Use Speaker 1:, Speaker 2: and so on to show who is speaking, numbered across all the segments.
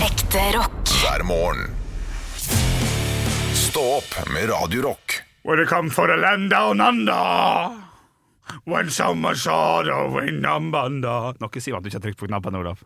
Speaker 1: Ekte rock.
Speaker 2: hver morgen. Stå opp med Radio Rock.
Speaker 3: Welcome for the land down under. When summer saw the wind down under. Nå ikke si at du ikke har trykt på knappen, Olav.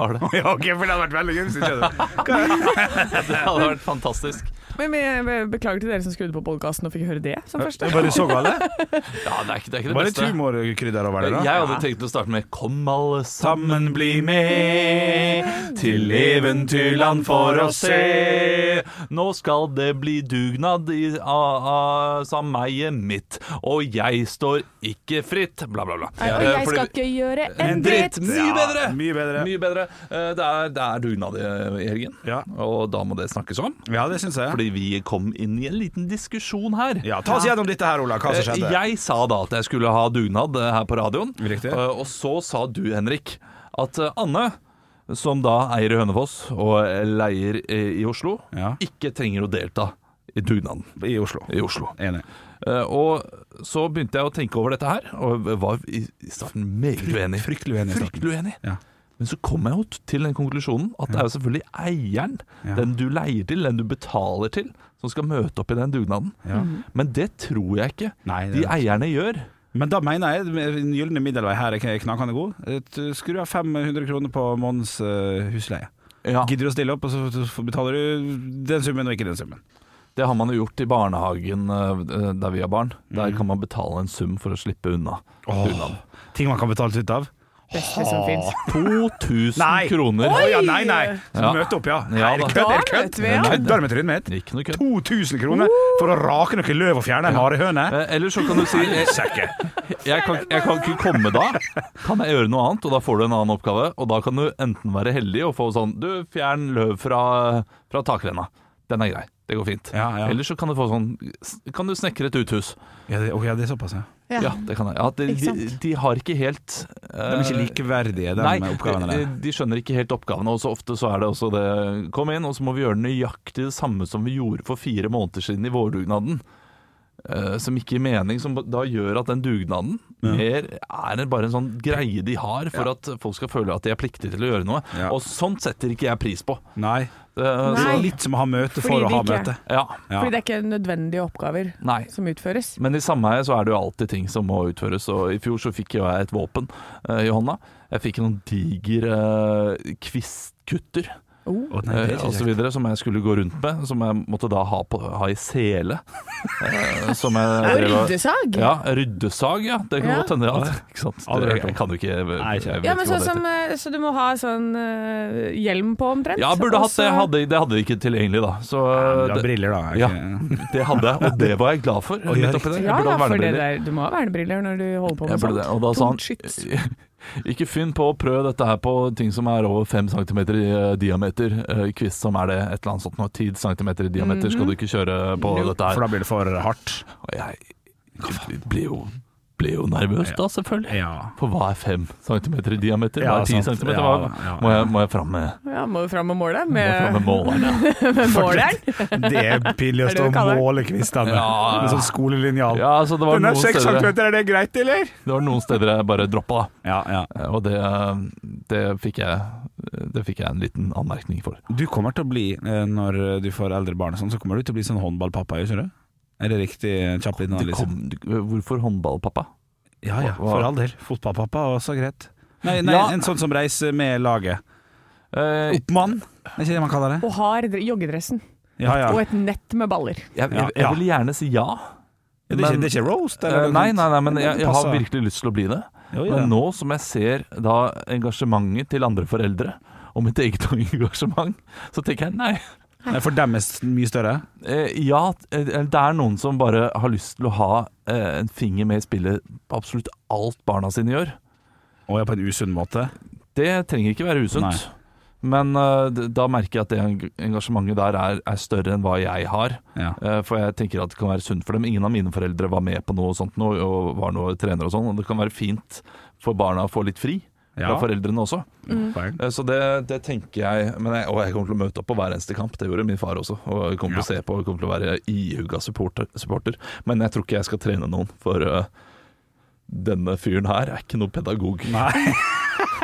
Speaker 4: Har det.
Speaker 3: Ja, ok, for det hadde vært veldig gøy hvis ikke det.
Speaker 4: Det hadde vært fantastisk.
Speaker 5: Men men jeg beklager til dere som skrudde på podkasten og fikk høre det som første.
Speaker 3: Var det så gale?
Speaker 4: Ja, det er ikke det, er ikke det
Speaker 3: Var det
Speaker 4: beste.
Speaker 3: tumorkrydder over det, da?
Speaker 4: Jeg hadde tenkt å starte med 'Kom alle sammen
Speaker 3: Sammen bli med til eventyrland for å se.
Speaker 4: Nå skal det bli dugnad i av- av sameiet mitt, og jeg står ikke fritt, bla, bla, bla.
Speaker 5: Og
Speaker 4: Eh,
Speaker 5: jeg
Speaker 4: fordi-
Speaker 5: skal ikke gjøre
Speaker 4: en dritt! Mye
Speaker 3: Ja,
Speaker 4: bedre!
Speaker 3: mye bedre.
Speaker 4: Mye bedre. Eh, Det, er, det er dugnad i i helgen,
Speaker 3: Ja.
Speaker 4: og da må det snakkes om.
Speaker 3: Ja, det syns jeg.
Speaker 4: Fordi vi kom inn i en liten diskusjon her.
Speaker 3: Ja, Ta oss gjennom dette her, Ola. Hva som skjedde?
Speaker 4: Eh, Jeg sa da at jeg skulle ha dugnad eh, her på radioen.
Speaker 3: Riktig.
Speaker 4: Eh, Og så sa du, Henrik, at eh, Anne, som da eier i Hønefoss og eh, leier eh, i Oslo,
Speaker 3: Ja.
Speaker 4: ikke trenger å delta i dugnaden
Speaker 3: I Oslo.
Speaker 4: i Oslo.
Speaker 3: Enig.
Speaker 4: Eh, Og så begynte jeg å tenke over dette her, og var i i starten meget uenig.
Speaker 3: Fryktelig uenig i starten.
Speaker 4: Fryktelig uenig.
Speaker 3: Ja.
Speaker 4: Men så kom jeg jo t- til den konklusjonen at det er jo selvfølgelig eieren,
Speaker 3: Ja.
Speaker 4: den du leier til, den du betaler til, som skal møte opp i den dugnaden.
Speaker 3: Ja.
Speaker 4: Men det tror jeg ikke
Speaker 3: Nei, det
Speaker 4: de
Speaker 3: er sant.
Speaker 4: eierne gjør.
Speaker 3: Men da mener jeg den gylne middelvei her er knakende god. Et, eh, Skru av 500 kroner på månedens eh, husleie.
Speaker 4: Ja,
Speaker 3: Gidder du å stille opp, og så så betaler du den summen og ikke den summen.
Speaker 4: Det har man jo gjort i barnehagen eh, der vi har barn. Der kan man betale en sum for å slippe unna.
Speaker 3: Mhm. Åh, ting man kan betales ut av.
Speaker 5: beste
Speaker 4: Ah,
Speaker 5: som fins.
Speaker 4: 2000
Speaker 3: Nei.
Speaker 4: kroner.
Speaker 3: Å ja, nei, nei! Så
Speaker 4: Ja.
Speaker 3: møte opp, ja.
Speaker 4: Ja,
Speaker 3: Nei,
Speaker 4: da.
Speaker 3: er det kødd? Er det
Speaker 5: Da
Speaker 3: kødd?
Speaker 5: møter vi, ja.
Speaker 3: Nei, da er det med trynet mitt.
Speaker 4: Ikke noe kødd.
Speaker 3: 2000 kroner for å rake noe løv og fjerne en marehøne?
Speaker 4: Eh, Eller så kan du si jeg,
Speaker 3: Sekke.
Speaker 4: jeg, kan, jeg kan ikke komme da. Kan jeg gjøre noe annet? Og da får du en annen oppgave. Og da kan du enten være heldig og få sånn Du, fjern løv fra, fra takrenna. Den er grei. Det går fint.
Speaker 3: Ja, ja.
Speaker 4: Eller så kan du få sånn Kan du snekre et uthus?
Speaker 3: Ja, det, å, ja, det er såpass, ja.
Speaker 5: Ja.
Speaker 4: Ja, det kan jeg. Ja, de,
Speaker 5: Ikke
Speaker 4: de,
Speaker 5: sant?
Speaker 4: de har ikke helt eh,
Speaker 3: De er ikke likeverdige, de
Speaker 4: Nei, eh,
Speaker 3: oppgavene der.
Speaker 4: de- De skjønner ikke helt oppgavene, og så ofte så er det også det Kom inn, og så må vi gjøre nøyaktig det samme som vi gjorde for fire måneder siden i vårdugnaden. eh, som ikke gir mening, som da gjør at den dugnaden mer er en- bare en sånn greie de har for at folk skal føle at de er pliktige til å gjøre noe.
Speaker 3: Ja.
Speaker 4: Og sånt setter ikke jeg pris på.
Speaker 3: Nei.
Speaker 4: Eh,
Speaker 3: Det
Speaker 4: så-
Speaker 3: er litt som å ha møte
Speaker 5: Fordi
Speaker 3: for å
Speaker 5: de
Speaker 3: ha
Speaker 5: ikke-
Speaker 3: møte.
Speaker 4: ja.
Speaker 3: Ja.
Speaker 5: Fordi det er ikke nødvendige oppgaver
Speaker 4: Nei.
Speaker 5: som utføres.
Speaker 4: Men i sameie så er det jo alltid ting som må utføres, og i fjor så fikk jo jeg et våpen eh, i hånda. Jeg fikk noen diger eh, kvistkutter.
Speaker 3: Å, nei, det er
Speaker 4: Eh,
Speaker 3: ikke
Speaker 4: og så
Speaker 3: kjekt.
Speaker 4: videre, som jeg skulle gå rundt med, som jeg måtte da ha, på, ha i sele. Eh, som jeg drev og-
Speaker 5: ryddesag!
Speaker 4: Ja, ryddesag, ja. Det kan
Speaker 5: Ja.
Speaker 4: godt hende. Ja. Ikke sant?
Speaker 3: Aldri
Speaker 4: Det,
Speaker 3: hørt om.
Speaker 4: jeg kan jo ikke jeg vet
Speaker 3: Nei, ikke jeg.
Speaker 4: ikke
Speaker 5: Ja, men
Speaker 4: hva
Speaker 5: så,
Speaker 4: det
Speaker 5: som,
Speaker 4: heter.
Speaker 5: eh, så du må ha sånn eh, hjelm på, omtrent?
Speaker 4: ja, burde
Speaker 5: Og
Speaker 4: hatt det.
Speaker 5: så-
Speaker 4: Hadde, det hadde jeg ikke tilgjengelig, da. Så
Speaker 3: Du har
Speaker 4: det,
Speaker 3: briller, da.
Speaker 4: ja,
Speaker 3: ikke-
Speaker 4: det hadde jeg, og det var jeg glad for.
Speaker 3: ja,
Speaker 4: midt oppi det. Jeg
Speaker 5: Ja,
Speaker 4: burde
Speaker 5: ja,
Speaker 4: ha
Speaker 5: for det
Speaker 4: vernebriller.
Speaker 5: der, du må ha vernebriller når du holder på med
Speaker 4: Jeg burde det.
Speaker 5: sånt.
Speaker 4: Og da sa
Speaker 5: Tungt skyts.
Speaker 4: han ikke finn på å prøve dette her på ting som er over 5 cm i eh, diameter. Eh, Kvist som er det, et eller annet sånt noe. 10 cm i diameter skal du ikke kjøre på
Speaker 5: Mhm. Nope.
Speaker 4: dette her.
Speaker 3: For da blir det for hardt.
Speaker 4: Og jeg ble jo, ble jo nervøs da, selvfølgelig.
Speaker 3: Ja.
Speaker 4: For hva er fem centimeter i diameter? Hva
Speaker 3: Ja,
Speaker 4: er ti
Speaker 3: sant.
Speaker 4: centimeter?
Speaker 3: Ja,
Speaker 4: Hva,
Speaker 3: ja, ja.
Speaker 4: må, jeg, må jeg fram med,
Speaker 5: Ja, må jo fram med målet.
Speaker 4: må jeg fram
Speaker 5: Med,
Speaker 4: med måleren? ja?
Speaker 5: med måleren.
Speaker 3: Det er pinlig å
Speaker 5: Er det
Speaker 3: stå
Speaker 5: det
Speaker 3: og
Speaker 5: du kaller det?
Speaker 3: måle kvistene
Speaker 4: Ja.
Speaker 3: med sånn skolelinjal.
Speaker 4: Ja, altså det var,
Speaker 3: Den er
Speaker 4: noen
Speaker 3: seks
Speaker 4: steder,
Speaker 3: centimeter, er det greit, eller?
Speaker 4: det var noen steder jeg bare droppa, da.
Speaker 3: Ja, ja.
Speaker 4: Og det, eh, det, fikk jeg, det fikk jeg en liten anmerkning for.
Speaker 3: Du kommer til å bli, eh, når du får eldre barn og sånn, så kommer du til å bli sånn håndballpappa, gjør ikke du? Er det riktig eh, kjapp liten
Speaker 4: Det
Speaker 3: analyse?
Speaker 4: kom, hvorfor håndball, pappa?
Speaker 3: Ja ja,
Speaker 4: Hva-
Speaker 3: for all del. Fotballpappa er også greit. Nei, nei
Speaker 4: Ja.
Speaker 3: en sånn som reiser med laget.
Speaker 4: Eh,
Speaker 3: Oppmann, er ikke det man kaller det?
Speaker 5: Og har dre- joggedressen.
Speaker 3: Ja ja.
Speaker 5: Og et nett med baller.
Speaker 4: jeg,
Speaker 3: Ja,
Speaker 4: jeg,
Speaker 3: ja.
Speaker 4: jeg vil gjerne si ja.
Speaker 3: Det er ikke,
Speaker 4: men-
Speaker 3: det er ikke roast? Eller
Speaker 4: Eh,
Speaker 3: noe
Speaker 4: Nei,
Speaker 3: sånt?
Speaker 4: nei, nei, men
Speaker 3: Det
Speaker 4: jeg, jeg har
Speaker 3: passer.
Speaker 4: virkelig lyst til å bli det.
Speaker 3: Jo, ja.
Speaker 4: Men nå som jeg ser da engasjementet til andre foreldre, og mitt eget engasjement, så tenker jeg nei.
Speaker 3: Nei, For dem er s- mye større?
Speaker 4: Eh, ja, eh, det er noen som bare har lyst til å ha eh, en finger med i spillet på absolutt alt barna sine gjør.
Speaker 3: Å ja, på en usunn måte?
Speaker 4: Det trenger ikke være usunt. Men eh, d- da merker jeg at det eng- engasjementet der er, er større enn hva jeg har.
Speaker 3: Ja.
Speaker 4: Eh, For jeg tenker at det kan være sunt for dem. Ingen av mine foreldre var med på noe sånt nå, og var noe trener og sånn. Og det kan være fint for barna å få litt fri fra
Speaker 3: Ja.
Speaker 4: foreldrene også.
Speaker 3: Poeng.
Speaker 4: Eh, Så det, det tenker jeg, men jeg Og jeg kommer til å møte opp på hver eneste kamp. Det gjorde min far også. Og jeg kommer til å se på og jeg kommer til å være ihuga supporter, supporter. Men jeg tror ikke jeg skal trene noen, for eh, denne fyren her er ikke noe pedagog.
Speaker 3: Nei.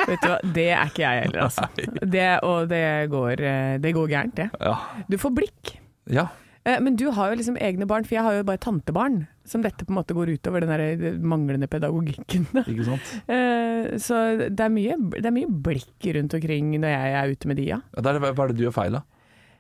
Speaker 5: Vet du hva, det er ikke jeg heller, altså. Det, og det går, eh, det går gærent, det.
Speaker 4: Ja.
Speaker 5: Du får blikk.
Speaker 4: ja.
Speaker 5: Eh, Men du har jo liksom egne barn, for jeg har jo bare tantebarn. Som dette på en måte går utover, den der eh, manglende pedagogikken.
Speaker 4: Ikke sant?
Speaker 5: Eh, Så det er, mye, det er mye blikk rundt omkring når jeg er ute med de, ja.
Speaker 4: Ja, det er, hva er det du gjør feil, da?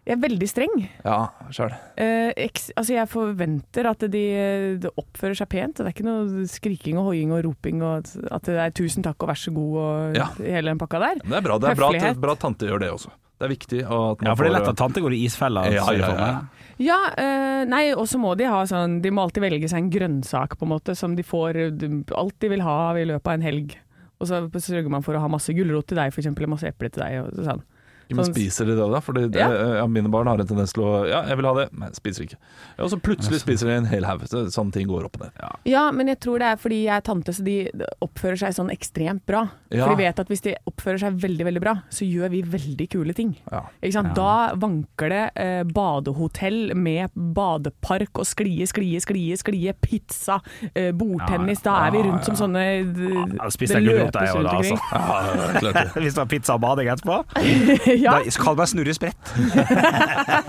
Speaker 5: Jeg er veldig streng.
Speaker 4: Ja, sjøl.
Speaker 5: Eh, eks, altså jeg forventer at de, eh, de oppfører seg pent. og Det er ikke noe skriking og hoiing og roping og at det er 'tusen takk' og 'vær så god' og
Speaker 4: Ja.
Speaker 5: hele den pakka der.
Speaker 4: Det er bra, det er bra, at,
Speaker 5: Høflighet.
Speaker 4: bra at tante gjør det også. Det er viktig. og At man
Speaker 3: Ja, for det er
Speaker 4: får-
Speaker 3: lett at tante går i isfella.
Speaker 4: Ja,
Speaker 3: ser jeg
Speaker 4: ja,
Speaker 3: for meg.
Speaker 4: ja.
Speaker 5: Ja, eh, nei, og så må de ha sånn De må alltid velge seg en grønnsak, på en måte, som de får eh, alt de vil ha av i løpet av en helg. Og så sørger man for å ha masse gulrot til deg, f.eks., og masse eple til deg. Og sånn.
Speaker 4: Ja, men
Speaker 5: Sånn-
Speaker 4: spiser de det da? Fordi det,
Speaker 5: Ja.
Speaker 4: ja. Mine barn har en tendens til å Ja, jeg vil ha det, men jeg spiser ikke. Ja, og så plutselig spiser de en hel haug. Så Sånne ting går opp og ned.
Speaker 5: Ja, men jeg tror det er fordi jeg er tante, så de oppfører seg sånn ekstremt bra.
Speaker 4: Ja.
Speaker 5: For de vet at hvis de oppfører seg veldig, veldig bra, så gjør vi veldig kule ting.
Speaker 4: Ja.
Speaker 5: Ikke sant? Da vanker det eh, badehotell med badepark og sklie, sklie, sklie, sklie, pizza, eh, bordtennis. Da er vi rundt som sånne eh, d-
Speaker 3: Ja, spiser jeg gulrot, jeg òg, da, altså.
Speaker 4: Ja, klart det.
Speaker 3: Hvis det var pizza og bading etterpå,
Speaker 5: ja,
Speaker 3: da kall meg Snurre Sprett.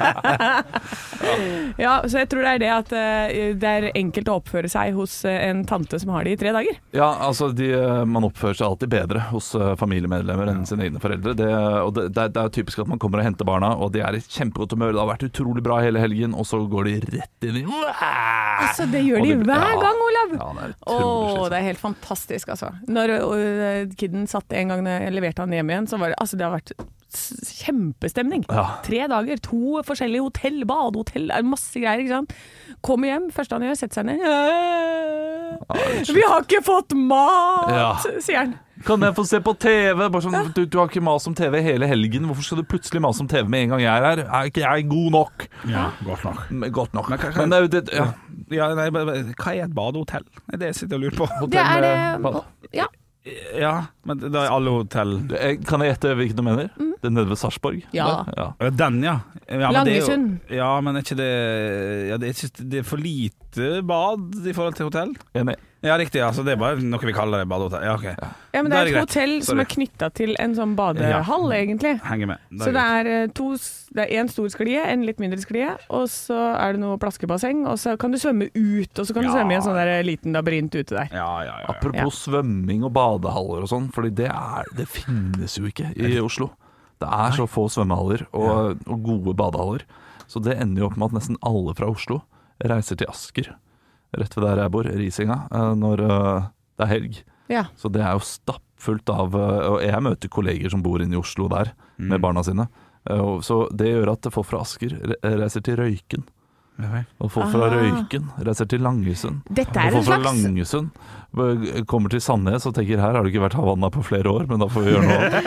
Speaker 5: ja, så jeg tror det er det at eh, det er enkelt å oppføre seg hos eh, en tante som har det i tre dager.
Speaker 4: ja, altså de, man oppfører seg alltid bedre hos eh, familiemedlemmer enn sine egne foreldre. Det, og det, det, er- det er typisk at man kommer og henter barna, og de er i kjempegodt humør. Det har vært utrolig bra hele helgen, og så går de rett inn i
Speaker 5: Altså, det gjør
Speaker 4: Og
Speaker 5: de
Speaker 4: det-
Speaker 5: hver
Speaker 4: ja.
Speaker 5: gang, Olav!
Speaker 4: Ja, det er
Speaker 5: Å,
Speaker 4: utrolig slitsomt.
Speaker 5: det er helt fantastisk, altså. Når øh, kidden satt en gang når jeg leverte han hjem igjen, så var det Altså, det har vært s- kjempestemning.
Speaker 4: Ja.
Speaker 5: Tre dager, to forskjellige hotell, badehotell, det er masse greier, ikke sant. Kommer hjem, første han gjør, setter seg ned. Vi har ikke fått mat,
Speaker 4: Ja.
Speaker 5: sier han.
Speaker 4: Kan jeg få se på TV? Bare sånn, du, du har ikke mas om TV hele helgen. Hvorfor skal du plutselig mase om TV med en gang jeg er her? Er ikke jeg god nok?
Speaker 3: Ja, godt nok.
Speaker 4: Godt nok.
Speaker 3: Men hva- hva-
Speaker 4: Men det, er jo det, ja.
Speaker 3: Ja, nei, men- men hva er et badehotell? Det er det jeg sitter og lurer på.
Speaker 5: Det er eh,
Speaker 3: eh,
Speaker 4: med bad.
Speaker 5: det Ja.
Speaker 3: Ja, men da er alle hotell
Speaker 4: Eh, Kan jeg gjette hvilken du mener? Det er nede ved Sarpsborg?
Speaker 5: Mm. Ja.
Speaker 4: Der? ja.
Speaker 3: Ja, Den, ja. ja men det er jo-
Speaker 5: Langesund.
Speaker 3: Ja, men er ikke det ja, det, er ikke, det er for lite bad i forhold til hotell?
Speaker 4: Enig.
Speaker 3: Ja, riktig. Altså, det er bare noe vi kaller det badehotell. Ja, OK.
Speaker 5: ja, men
Speaker 3: Da er det
Speaker 5: det er et
Speaker 3: greit.
Speaker 5: hotell som
Speaker 3: Sorry.
Speaker 5: er knytta til en sånn badehall, egentlig.
Speaker 3: Henger med. Det er
Speaker 5: Så det
Speaker 3: greit.
Speaker 5: er eh, to s- Det er én stor sklie, en litt mindre sklie, og så er det noe plaskebasseng, og så kan du svømme ut, og så kan du
Speaker 3: Ja.
Speaker 5: svømme i en sånn der eh, liten labyrint ute der.
Speaker 3: Ja, ja, ja.
Speaker 4: Apropos svømming og badehaller og sånn, Fordi det, er, det finnes jo ikke i Oslo. Det er så få svømmehaller og, og gode badehaller. Så det ender jo opp med at nesten alle fra Oslo reiser til Asker, rett ved der jeg bor, Risinga, eh, når eh, det er helg.
Speaker 5: Ja.
Speaker 4: Så det er jo stappfullt av eh, Og jeg møter kolleger som bor inne i Oslo der
Speaker 3: Mm.
Speaker 4: med barna sine. Eh, og Så det gjør at folk fra Asker re- reiser til Røyken.
Speaker 3: ja.
Speaker 4: Og folk fra
Speaker 5: Ah.
Speaker 4: Røyken reiser til Langesund.
Speaker 5: Dette
Speaker 4: Og
Speaker 5: er en
Speaker 4: folk fra
Speaker 5: slags
Speaker 4: Langesund b- kommer til Sandnes og tenker her har det ikke vært Havanna på flere år, men da får vi gjøre noe annet.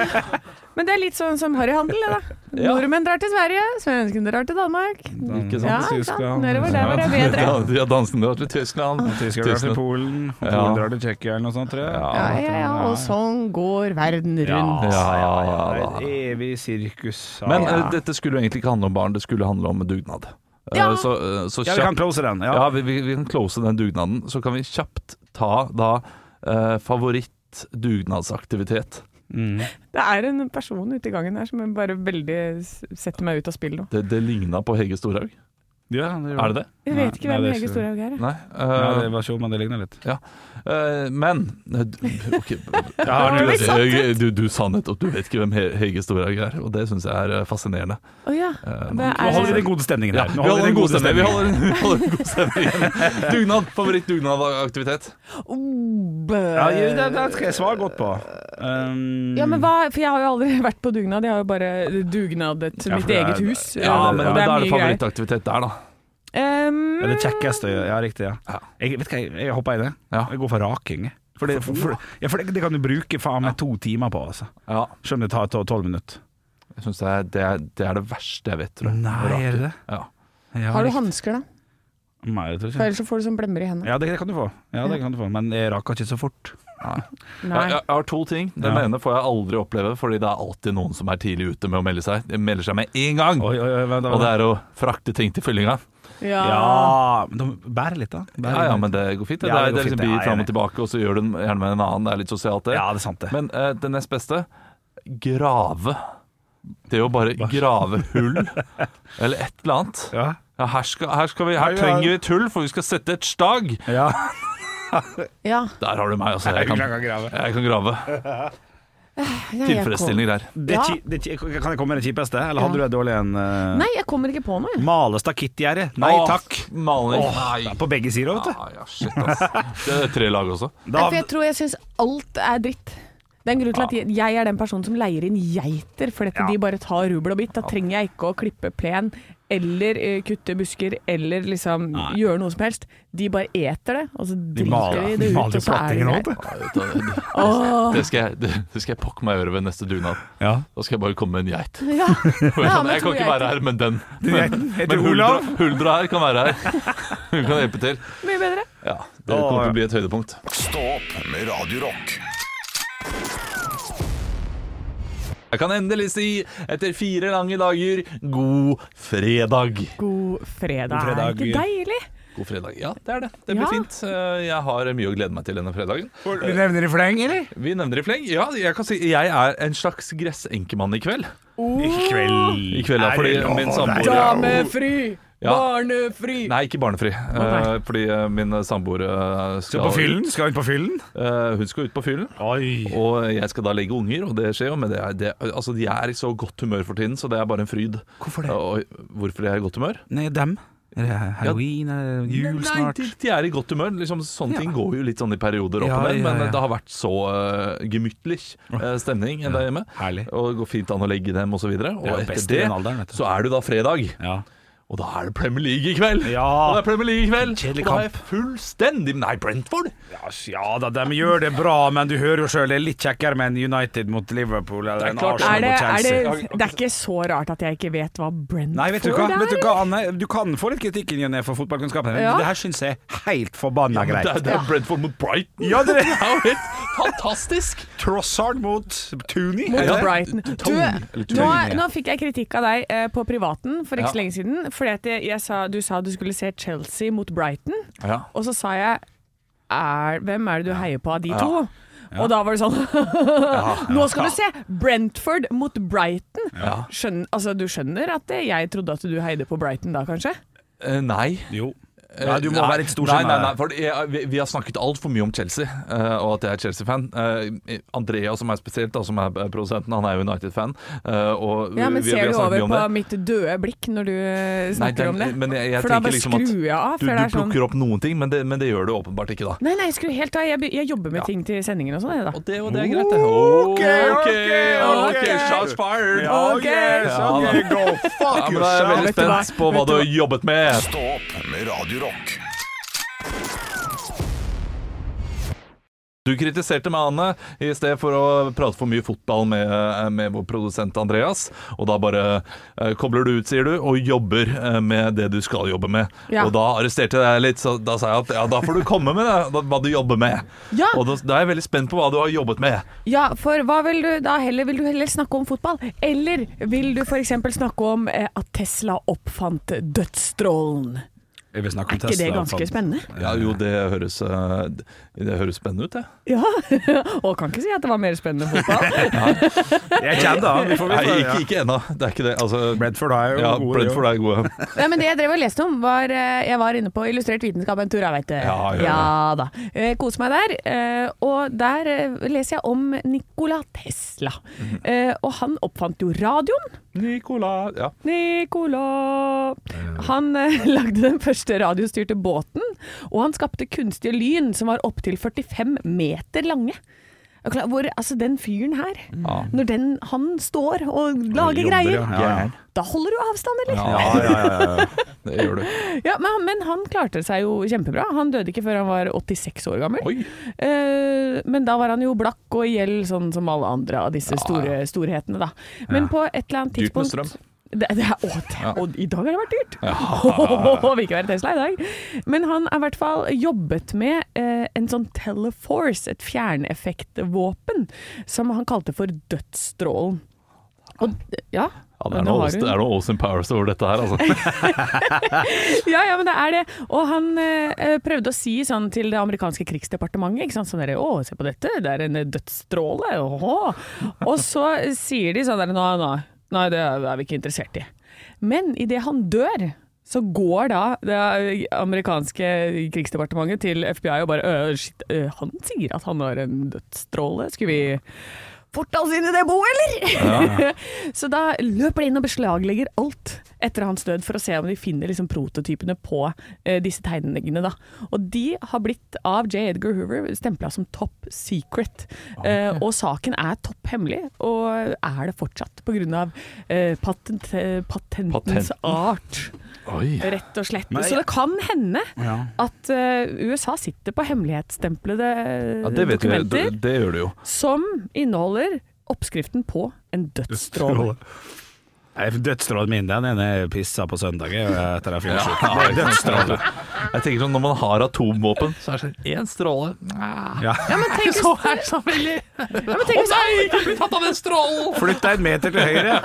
Speaker 5: Men det er litt sånn som harryhandel, det da.
Speaker 4: Ja.
Speaker 5: Nordmenn drar til Sverige, svenskene drar til Danmark.
Speaker 4: Ikke sant?
Speaker 5: Ja, ikke sant?
Speaker 3: Tyskland.
Speaker 5: Nedover der var det bedre.
Speaker 4: Ja, de har dansene vært i Tyskland.
Speaker 3: Tyskland drar til
Speaker 4: Tyskland.
Speaker 3: Polen, og Polen
Speaker 4: Ja.
Speaker 3: drar til Tsjekkia eller noe sånt, tror jeg.
Speaker 4: Ja.
Speaker 5: Ja, ja, ja. Og sånn går verden rundt.
Speaker 4: Ja,
Speaker 3: Det
Speaker 4: ja,
Speaker 3: er
Speaker 4: ja.
Speaker 3: et evig sirkus. Ja.
Speaker 4: Men
Speaker 5: Ja.
Speaker 4: eh, dette skulle jo egentlig ikke handle om barn, det skulle handle om dugnad. Eh,
Speaker 5: Ja.
Speaker 4: Så, eh, så
Speaker 3: ja, vi kan close den. Ja.
Speaker 4: Ja, vi, vi, vi kan close den dugnaden. Så kan vi kjapt ta da eh, favoritt-dugnadsaktivitet.
Speaker 3: Mm.
Speaker 5: Det er en person ute i gangen her som bare veldig s- setter meg ut av spill nå.
Speaker 4: Det, det ligna på Hege Storhaug.
Speaker 3: ja
Speaker 4: Er det det?
Speaker 5: Jeg
Speaker 3: Nei,
Speaker 5: vet ikke
Speaker 3: nei, det
Speaker 5: hvem
Speaker 3: er
Speaker 5: Hege
Speaker 3: ikke-
Speaker 5: Storhaug er. jeg.
Speaker 4: Nei. eh,
Speaker 3: Ja, det var sjov, men det ligner litt.
Speaker 4: eh, men eh, d- ok.
Speaker 3: Ja,
Speaker 5: det var litt sannhet.
Speaker 4: du, du sa nettopp du vet ikke hvem He- Hege Storhaug er, og det syns jeg er eh, fascinerende.
Speaker 5: Å ja.
Speaker 4: Eh,
Speaker 5: Det
Speaker 3: Nå holder vi
Speaker 5: er,
Speaker 3: den gode stemningen
Speaker 4: ja,
Speaker 3: her.
Speaker 4: vi
Speaker 3: Nå holder
Speaker 4: holder en god stemning. Vi
Speaker 3: stemningen.
Speaker 4: holder, vi holder en god stemning. Dugnad. Favoritt-dugnadaktivivitet.
Speaker 5: oh, bø-
Speaker 3: Ja, ja, det, det skal jeg svare godt på. Um,
Speaker 5: Ja, men hva, for jeg har jo aldri vært på dugnad. Jeg har jo bare dugnadet
Speaker 3: Ja, for
Speaker 5: mitt
Speaker 3: det er-
Speaker 5: eget hus.
Speaker 4: Ja,
Speaker 5: og
Speaker 4: men, men da er det favorittaktivitet der, da.
Speaker 5: greier. Um,
Speaker 3: Ja, det kjekkeste Ja, riktig.
Speaker 4: Ja.
Speaker 3: Ja. Jeg, vet du hva, jeg, jeg hopper i det.
Speaker 4: Ja.
Speaker 3: Jeg går for raking. jeg. For det, for, for, ja, for det, det kan du bruke faen meg to timer på, altså.
Speaker 4: Ja,
Speaker 3: Skjønner det tar to- tolv minutter.
Speaker 4: jeg synes det, er- det, er- det er det verste jeg vet, tror jeg. Raker.
Speaker 3: det det?
Speaker 4: Ja.
Speaker 3: Ja,
Speaker 5: har du
Speaker 3: riktig.
Speaker 5: hansker, da?
Speaker 3: Nei, jeg tror
Speaker 5: For
Speaker 3: ikke.
Speaker 5: ellers så får du sånn blemmer i hendene.
Speaker 3: Ja, det, det kan du få. Ja, det kan du få. Men jeg raker ikke så fort.
Speaker 5: Nei.
Speaker 4: Jeg, jeg har to ting. Den
Speaker 3: Ja.
Speaker 4: ene får jeg aldri oppleve, fordi det er alltid noen som er tidlig ute med å melde seg. De melder seg med én gang!
Speaker 3: Oi, oi, oi, vent,
Speaker 4: Og det er å frakte ting til fyllinga.
Speaker 5: Ja.
Speaker 3: Ja, men de bærer litt, da. Bærer
Speaker 4: Ja, ja,
Speaker 3: litt.
Speaker 4: men det går fint. Det,
Speaker 3: Ja, det
Speaker 4: det,
Speaker 3: går
Speaker 4: er liksom
Speaker 3: fint, det. Ja,
Speaker 4: bi
Speaker 3: jeg er
Speaker 4: fram
Speaker 3: enig.
Speaker 4: og tilbake, og så gjør du den gjerne med en annen. Det er litt sosialt, det.
Speaker 3: ja, det er sant, det.
Speaker 4: Men eh, det nest beste grave. Det å bare grave hull, eller et eller annet.
Speaker 3: Ja.
Speaker 4: Ja, her, skal, her, skal vi,
Speaker 3: Ja,
Speaker 4: her
Speaker 3: ja.
Speaker 4: trenger vi et hull, for vi skal sette et stag.
Speaker 3: ja.
Speaker 5: ja.
Speaker 4: Der har du meg, altså. Jeg kan, jeg kan grave.
Speaker 5: Ja, jeg
Speaker 4: Tilfredsstillende greier.
Speaker 3: Det,
Speaker 5: Ja.
Speaker 3: ki- det, ki- kan jeg komme med det kjipeste, eller hadde
Speaker 5: Ja.
Speaker 3: du et dårlig en?
Speaker 5: kom- Nei, jeg kommer ikke på noe. jeg.
Speaker 3: Male stakittgjerde. Nei
Speaker 4: Åh,
Speaker 3: takk.
Speaker 4: Maling.
Speaker 3: Åh, det er på begge sider, vet du.
Speaker 4: Ja, ja, shit, ass. Det er tre lag også.
Speaker 5: Nei,
Speaker 3: Da,
Speaker 5: for jeg tror jeg syns alt er dritt. Det er en grunn til at jeg- jeg er den personen som leier inn geiter, fordi at
Speaker 3: Ja.
Speaker 5: de bare tar rubbel og bit. Da trenger jeg ikke å klippe plen eller eh, kutte busker eller liksom gjøre noe som helst. De bare eter det, og så
Speaker 3: de
Speaker 5: driter
Speaker 3: maler
Speaker 5: de
Speaker 3: de
Speaker 5: det ut,
Speaker 3: maler
Speaker 5: og så er det
Speaker 3: plattingen
Speaker 5: greit.
Speaker 3: òg, vet du.
Speaker 4: Ja, Ah, vet du, det-
Speaker 5: Åh,
Speaker 4: Det skal jeg, det, det skal jeg pokke meg i øret ved neste dugnad.
Speaker 3: Ja.
Speaker 4: Da skal jeg bare komme med en geit. Sånn,
Speaker 5: ja. Ja, men
Speaker 4: jeg kan
Speaker 5: to
Speaker 4: ikke
Speaker 5: geiter.
Speaker 4: være her, men den.
Speaker 3: geiten heter
Speaker 4: men huldra,
Speaker 3: Olav.
Speaker 4: huldra her kan være her. Hun kan hjelpe til.
Speaker 5: Mye bedre.
Speaker 4: Ja, det
Speaker 3: Åh,
Speaker 4: kommer
Speaker 3: ja.
Speaker 4: til å bli et høydepunkt.
Speaker 2: Stå opp med Radio Rock.
Speaker 4: Jeg kan endelig si, etter fire lange dager, god fredag.
Speaker 5: God fredag.
Speaker 3: God fredag.
Speaker 5: Er ikke deilig?
Speaker 4: God fredag. Ja, det er det. Det blir
Speaker 5: Ja.
Speaker 4: fint. Eh, Jeg har mye å glede meg til denne fredagen.
Speaker 3: Vi nevner i fleng, eller?
Speaker 4: Vi nevner i fleng. Ja, jeg kan si jeg er en slags gressenkemann i kveld.
Speaker 3: I kveld.
Speaker 4: I kveld, ja,
Speaker 3: Er
Speaker 4: fordi
Speaker 3: det lov?
Speaker 4: min samboer
Speaker 3: Ja.
Speaker 5: Damefri!
Speaker 4: Ja.
Speaker 5: Barnefri!
Speaker 4: Nei, ikke barnefri.
Speaker 5: nei.
Speaker 4: Eh, fordi eh, min samboer eh,
Speaker 3: Så
Speaker 4: skal
Speaker 3: på fyllen? Skal hun på fyllen?
Speaker 4: Eh, hun skal ut på fyllen,
Speaker 3: Oi.
Speaker 4: og jeg skal da legge unger, og det skjer jo, men det er, det, altså, de er i så godt humør for tiden, så det er bare en fryd.
Speaker 3: Hvorfor
Speaker 4: Eh, Og hvorfor de er i godt humør?
Speaker 3: Nei, dem. Er det halloween? Er det jul
Speaker 4: Nei,
Speaker 3: snart?
Speaker 4: de, de er i godt humør. Liksom, sånne
Speaker 3: Ja.
Speaker 4: ting går jo litt sånn i perioder opp
Speaker 3: Ja,
Speaker 4: og
Speaker 3: ja,
Speaker 4: ned, men
Speaker 3: ja.
Speaker 4: det har vært så eh, gemyttlig eh, stemning der hjemme.
Speaker 3: Herlig.
Speaker 4: Og det går fint an å legge dem, og så videre. Og
Speaker 3: Det er jo
Speaker 4: etter
Speaker 3: best i
Speaker 4: det
Speaker 3: den alderen, vet du.
Speaker 4: så er det da fredag,
Speaker 3: Ja.
Speaker 4: og da er det Premier League i kveld.
Speaker 3: Ja.
Speaker 4: Og det er Premier League i kveld. Og
Speaker 3: Kjedelig
Speaker 4: da har jeg fullstendig Nei, Brentford!
Speaker 3: Ja, s- ja da, de gjør det bra, men du hører jo sjøl det er litt kjekkere med en United mot Liverpool eller
Speaker 4: Det er
Speaker 3: en
Speaker 4: klart.
Speaker 3: Arsenal
Speaker 5: Er det,
Speaker 3: mot
Speaker 5: er
Speaker 3: Chelsea.
Speaker 5: det, det er ikke så rart at jeg ikke vet hva Brentford
Speaker 3: Nei, vet du hva,
Speaker 5: er.
Speaker 3: vet du, hva Anne? du kan få litt kritikk i ny og ne for fotballkunnskapen, men
Speaker 5: Ja.
Speaker 3: det her syns jeg er helt forbanna
Speaker 4: Det
Speaker 3: greit.
Speaker 4: er, det er Brentford mot Brighton.
Speaker 3: Ja, det
Speaker 4: Det er jo helt fantastisk!
Speaker 3: Trossard mot Tooney.
Speaker 5: Mot
Speaker 4: Ja.
Speaker 5: Brighton. Du,
Speaker 4: Tong, eller
Speaker 5: nå,
Speaker 3: Tong, ja.
Speaker 5: nå fikk jeg kritikk av deg eh, på privaten for ikke
Speaker 4: Ja.
Speaker 5: så lenge siden. Fordi at jeg, jeg sa, du sa du skulle se Chelsea mot Brighton,
Speaker 4: Ja.
Speaker 5: og så sa jeg er, Hvem er det du heier på av de to? Og da var det sånn Nå skal du se! Brentford mot Brighton. Skjønn- altså, du skjønner at eh, jeg trodde at du heide på Brighton da, kanskje?
Speaker 4: Eh, nei.
Speaker 3: Jo. Nei, du må
Speaker 4: Eh, Nei,
Speaker 3: være eh. litt
Speaker 4: Nei, nei, nei
Speaker 3: storskjerma.
Speaker 4: for jeg, vi, vi har snakket altfor mye om Chelsea, eh, og at jeg er Chelsea-fan. Eh, Andrea, som er spesielt, da, som er eh, produsenten, han er jo United-fan. eh, og
Speaker 5: Ja, men
Speaker 4: vi- vi
Speaker 5: Ser
Speaker 4: har
Speaker 5: du
Speaker 4: snakket mye
Speaker 5: over
Speaker 4: om
Speaker 5: på
Speaker 4: det.
Speaker 5: mitt døde blikk når du eh,
Speaker 4: Nei,
Speaker 5: snakker
Speaker 4: den-
Speaker 5: om det?
Speaker 4: men jeg- jeg
Speaker 5: for da
Speaker 4: tenker
Speaker 5: bare
Speaker 4: liksom at
Speaker 5: skrur jeg av.
Speaker 4: Du,
Speaker 5: for det
Speaker 4: du
Speaker 5: er sånn,
Speaker 4: plukker opp noen ting, men det, men det gjør du åpenbart ikke, da.
Speaker 5: Nei, nei, skru helt av. Jeg, be- jeg jobber med ting til sendingen og sånn. jeg, da.
Speaker 4: Og det, og det er greit, det. Ok,
Speaker 5: ok, ok.
Speaker 4: Shots fired!
Speaker 5: Ja, ok,
Speaker 4: Ja, da.
Speaker 3: go
Speaker 4: Ja,
Speaker 3: fuck
Speaker 4: men jeg er veldig
Speaker 5: Vet du hva?
Speaker 4: spent på hva
Speaker 5: Vet
Speaker 4: du
Speaker 5: du
Speaker 4: har
Speaker 5: hva?
Speaker 4: jobbet med.
Speaker 2: Stå opp med Radio Rock.
Speaker 4: Du kritiserte meg, Anne, i sted for å prate for mye fotball med, eh, med vår produsent Andreas. Og da bare eh, kobler du ut, sier du, og jobber eh, med det du skal jobbe med.
Speaker 5: Ja.
Speaker 4: Og da arresterte jeg deg litt, så da sa jeg at ja, da får du komme med det, da- hva du jobber med.
Speaker 5: Ja.
Speaker 4: Og da, da er jeg veldig spent på hva du har jobbet med.
Speaker 5: Ja, for hva vil du da heller? Vil du heller snakke om fotball? Eller vil du f.eks. snakke om eh, at Tesla oppfant dødsstrålen?
Speaker 3: Jeg vil snakke om
Speaker 5: Er ikke det
Speaker 3: Tesla,
Speaker 5: ganske
Speaker 3: faen.
Speaker 5: spennende?
Speaker 4: Ja, jo, det høres, eh, det høres spennende ut, det.
Speaker 5: Ja. Og kan ikke si at det var mer spennende enn fotball.
Speaker 3: Jeg kjenner han. Vi får
Speaker 4: Nei,
Speaker 3: vi
Speaker 4: ikke,
Speaker 3: får-
Speaker 4: ikke ennå. Det er ikke det. Altså,
Speaker 3: Brentford er jo
Speaker 4: ja,
Speaker 3: gode.
Speaker 4: Brentford er gode.
Speaker 5: Nei, men Det jeg drev og leste om, var eh, Jeg var inne på Illustrert vitenskap en tur, jeg vet det.
Speaker 4: Ja, ja, ja.
Speaker 5: da. Eh, Koser meg der. eh, Og der eh, leser jeg om Nikola Tesla.
Speaker 4: Mhm.
Speaker 5: Eh, Og han oppfant jo radioen.
Speaker 4: Nicola Ja.
Speaker 5: Nicola Han eh, lagde den første radiostyrte båten, og han skapte kunstige lyn som var opptil 45 meter lange. Er du klar- Hvor, altså den fyren her,
Speaker 4: Ja.
Speaker 5: når den, han står og lager
Speaker 3: jobber,
Speaker 5: greier,
Speaker 3: ja.
Speaker 4: Gæren.
Speaker 5: da holder du avstand, eller?
Speaker 4: Ja,
Speaker 3: Ja, ja, ja, ja.
Speaker 4: det gjør du.
Speaker 5: Ja, men, han- men han klarte seg jo kjempebra. Han døde ikke før han var 86 år gammel.
Speaker 4: Oi.
Speaker 5: Eh, men da var han jo blakk og i gjeld, sånn som alle andre av disse store storhetene, da. Men på et eller annet
Speaker 4: Dyrt med
Speaker 5: tidspunkt
Speaker 4: strøm.
Speaker 5: Det, det er, å, det, og i dag har det vært dyrt!
Speaker 4: Ja.
Speaker 5: Vil ikke være Tesla i dag. Men han har i hvert fall jobbet med eh, en sånn Teleforce, et fjerneffektvåpen, som han kalte for Dødsstrålen. Og, ja,
Speaker 4: Ja, det er
Speaker 5: nå
Speaker 4: noe
Speaker 5: har
Speaker 4: Austin-
Speaker 5: hun-
Speaker 4: det er noe Austin Powers over dette her, altså.
Speaker 5: Ja, ja, men det er det. Og han eh, prøvde å si sånn til det amerikanske krigsdepartementet, ikke sant, sånn derre Å, se på dette, det er en eh, dødsstråle, åhå. Og så sier de sånn derre Nei, nei, nei, det er er vi ikke interessert i. Men idet han dør, så går da det amerikanske krigsdepartementet til FBI og bare «Øh, Shit, øh, han sier at han har en dødsstråle, skulle vi Fort oss inn i det boet, eller? så da løper de inn og beslaglegger alt etter hans død, for å se om de finner liksom prototypene på eh, disse tegningene. Da. Og de har blitt av J. Edgar Hoover stempla som top secret.
Speaker 4: Ah,
Speaker 5: Eh, og saken er topphemmelig, og er det fortsatt, pga. Eh, patent, eh, patentens
Speaker 4: Patenten.
Speaker 5: art,
Speaker 4: Oi.
Speaker 5: rett og slett.
Speaker 3: Men jeg-
Speaker 5: Så det kan hende
Speaker 3: Ja.
Speaker 5: at eh, USA sitter på hemmelighetstemplede
Speaker 4: Ja, det vet vi,
Speaker 5: dokumenter
Speaker 4: det, det gjør det jo.
Speaker 5: som inneholder oppskriften på en dødsstråle.
Speaker 3: Nei, for Dødsstrålen min, den ene jeg pissa på søndag jeg, etter jeg fikk sjuk.
Speaker 4: Ja, dødsstråle. Jeg tenker sånn, Når man har atomvåpen, så er det sånn én stråle Nja,
Speaker 3: Ja.
Speaker 5: Tenk
Speaker 4: Så er det så veldig
Speaker 5: tenk
Speaker 4: Å nei, ikke bli tatt av den strålen!
Speaker 3: Flytt deg en meter til høyre.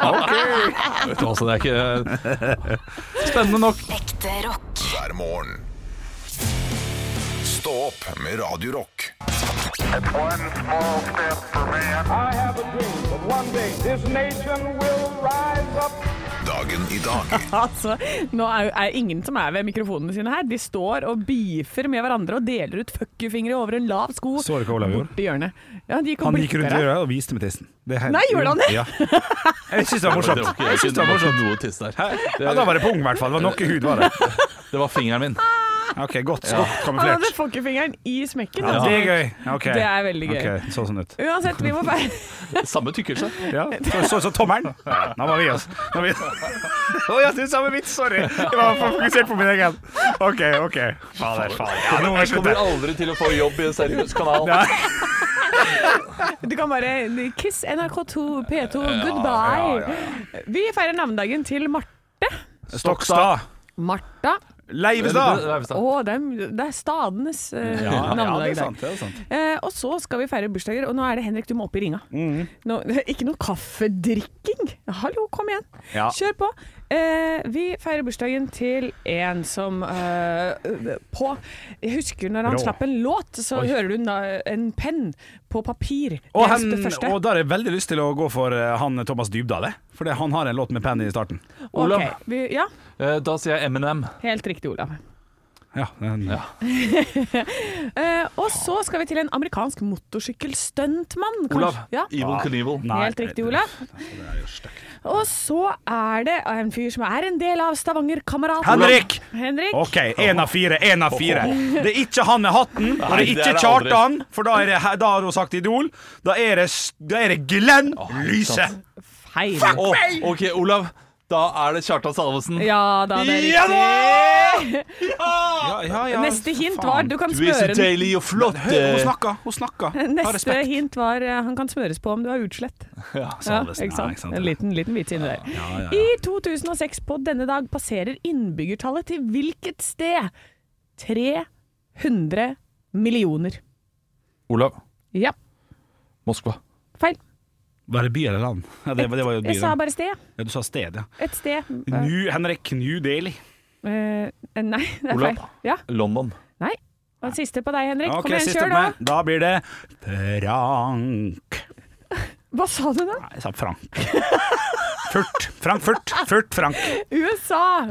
Speaker 4: Vet du hva, så det er ikke Spennende nok.
Speaker 1: Ekte rock.
Speaker 2: hver morgen. Stå opp med Radio Rock.
Speaker 6: One small step for man.
Speaker 7: I have a dream that one day this nation will rise up.
Speaker 2: Dagen i dag
Speaker 5: Altså, nå er jo er ingen som er ved mikrofonene sine her. De står og beefer med hverandre og deler ut fuck you-fingre over en lav sko
Speaker 3: Så du hva Olav gjorde?
Speaker 5: borti hjørnet. Ja, de gikk og
Speaker 3: Han gikk
Speaker 5: blikket
Speaker 3: rundt i
Speaker 5: der.
Speaker 3: øret og viste med tissen. Det er-
Speaker 5: Nei, gjorde han det?
Speaker 3: Ja. Jeg syns det var morsomt. Jeg synes det var morsomt.
Speaker 4: noe tiss der.
Speaker 3: Ja, da
Speaker 4: Det,
Speaker 3: var det pung, i hvert fall. Det var noe hud, var det.
Speaker 4: det var fingeren min.
Speaker 3: Ok, Godt, godt
Speaker 5: Han
Speaker 3: kamuflert.
Speaker 5: hadde fuck you-fingeren i smekken.
Speaker 3: Ja,
Speaker 5: altså.
Speaker 3: det er gøy. Ok.
Speaker 5: Det er veldig gøy.
Speaker 3: Ok, så sånn ut.
Speaker 5: Uansett, vi må bare
Speaker 4: Samme tykkelse.
Speaker 3: Ja, så, så, så tommeren. Ja, nå må vi oss. Nå må vi... Å, jeg synes samme vits, sorry. Jeg var for fokusert på min egen. OK, OK. Fader, fader. Ja, nå må jeg slutte.
Speaker 4: Kommer aldri til å få jobb i en seriøs kanal.
Speaker 5: Du kan bare Kiss NRK2, P2, goodbye. Vi feirer navnedagen til Marte.
Speaker 3: Stokstad.
Speaker 5: Martha.
Speaker 3: Leivestad.
Speaker 5: Å, det er, det er stadenes eh, navnedag i dag.
Speaker 3: det er sant.
Speaker 5: Eh, og så skal vi feire bursdager, og nå er det Henrik, du må opp i ringa.
Speaker 3: Mm.
Speaker 5: Nå, ikke noe kaffedrikking. Hallo, kom igjen.
Speaker 3: Ja.
Speaker 5: Kjør på. Eh, vi feirer bursdagen til en som eh, på Jeg husker når han
Speaker 3: Rå.
Speaker 5: slapp en låt, så hører du na- en penn på papir.
Speaker 3: Og,
Speaker 5: Det er
Speaker 3: han,
Speaker 5: det første.
Speaker 3: og da har jeg veldig lyst til å gå for eh, han Thomas Dybdahl, for han har en låt med penn i starten.
Speaker 5: Ok,
Speaker 4: Olav.
Speaker 5: Vi, ja,
Speaker 4: Da sier jeg M&M.
Speaker 5: helt riktig, Olav.
Speaker 3: Ja, den,
Speaker 5: Eh, og så skal vi til en amerikansk motorsykkelstuntmann. kanskje.
Speaker 4: Olav.
Speaker 5: Ja.
Speaker 4: Evil Knievel.
Speaker 3: Ah, Nei. altså,
Speaker 5: Helt riktig, Olav. Og så er det en fyr som er en del av Stavanger-kameraten.
Speaker 3: Henrik!
Speaker 5: Henrik.
Speaker 3: OK, én av fire, én av fire. Det er ikke han med hatten, og det
Speaker 4: Nei,
Speaker 3: er
Speaker 4: det er
Speaker 3: ikke
Speaker 4: det aldri.
Speaker 3: Kjartan, for da, er det, da har hun sagt Idol. Da er det, s- da er det Glenn Lyse.
Speaker 5: Feil.
Speaker 4: Å, OK, Olav. Da er det Kjartan Salvesen.
Speaker 5: Ja da, det er
Speaker 4: Ja
Speaker 5: riktig.
Speaker 4: da!
Speaker 3: Ja, ja, ja.
Speaker 5: Neste hint var du kan
Speaker 4: Du er så
Speaker 5: smøre den.
Speaker 4: deilig og flott.
Speaker 3: Hør, hun
Speaker 4: eh.
Speaker 3: snakker, hun snakker. Ha
Speaker 5: Neste
Speaker 3: respekt. Altså,
Speaker 5: hint var eh, han kan smøres på om du har utslett. Ja, ikke sant? En liten, liten vits inni der. I 2006 på denne dag passerer innbyggertallet til hvilket sted? 300 millioner.
Speaker 4: Olav.
Speaker 5: Ja,
Speaker 4: Moskva.
Speaker 5: feil.
Speaker 3: Var det by eller land? Ja, det, det var jo by.
Speaker 5: Jeg sa
Speaker 3: da.
Speaker 5: bare sted.
Speaker 3: Ja, du sa sted, ja.
Speaker 5: Et sted.
Speaker 3: New, Henrik New Daily.
Speaker 5: Eh, nei, det er
Speaker 4: Olav.
Speaker 5: feil. Ja,
Speaker 4: London.
Speaker 5: nei. Og siste på deg, Henrik.
Speaker 3: Ok,
Speaker 5: Kom igjen,
Speaker 3: siste
Speaker 5: kjør
Speaker 3: på
Speaker 5: da.
Speaker 3: meg. Da blir det Frank.
Speaker 5: Hva sa du da?
Speaker 3: Nei, jeg sa Frank. Furt. Frank Furt. Furt Frank.
Speaker 5: USA!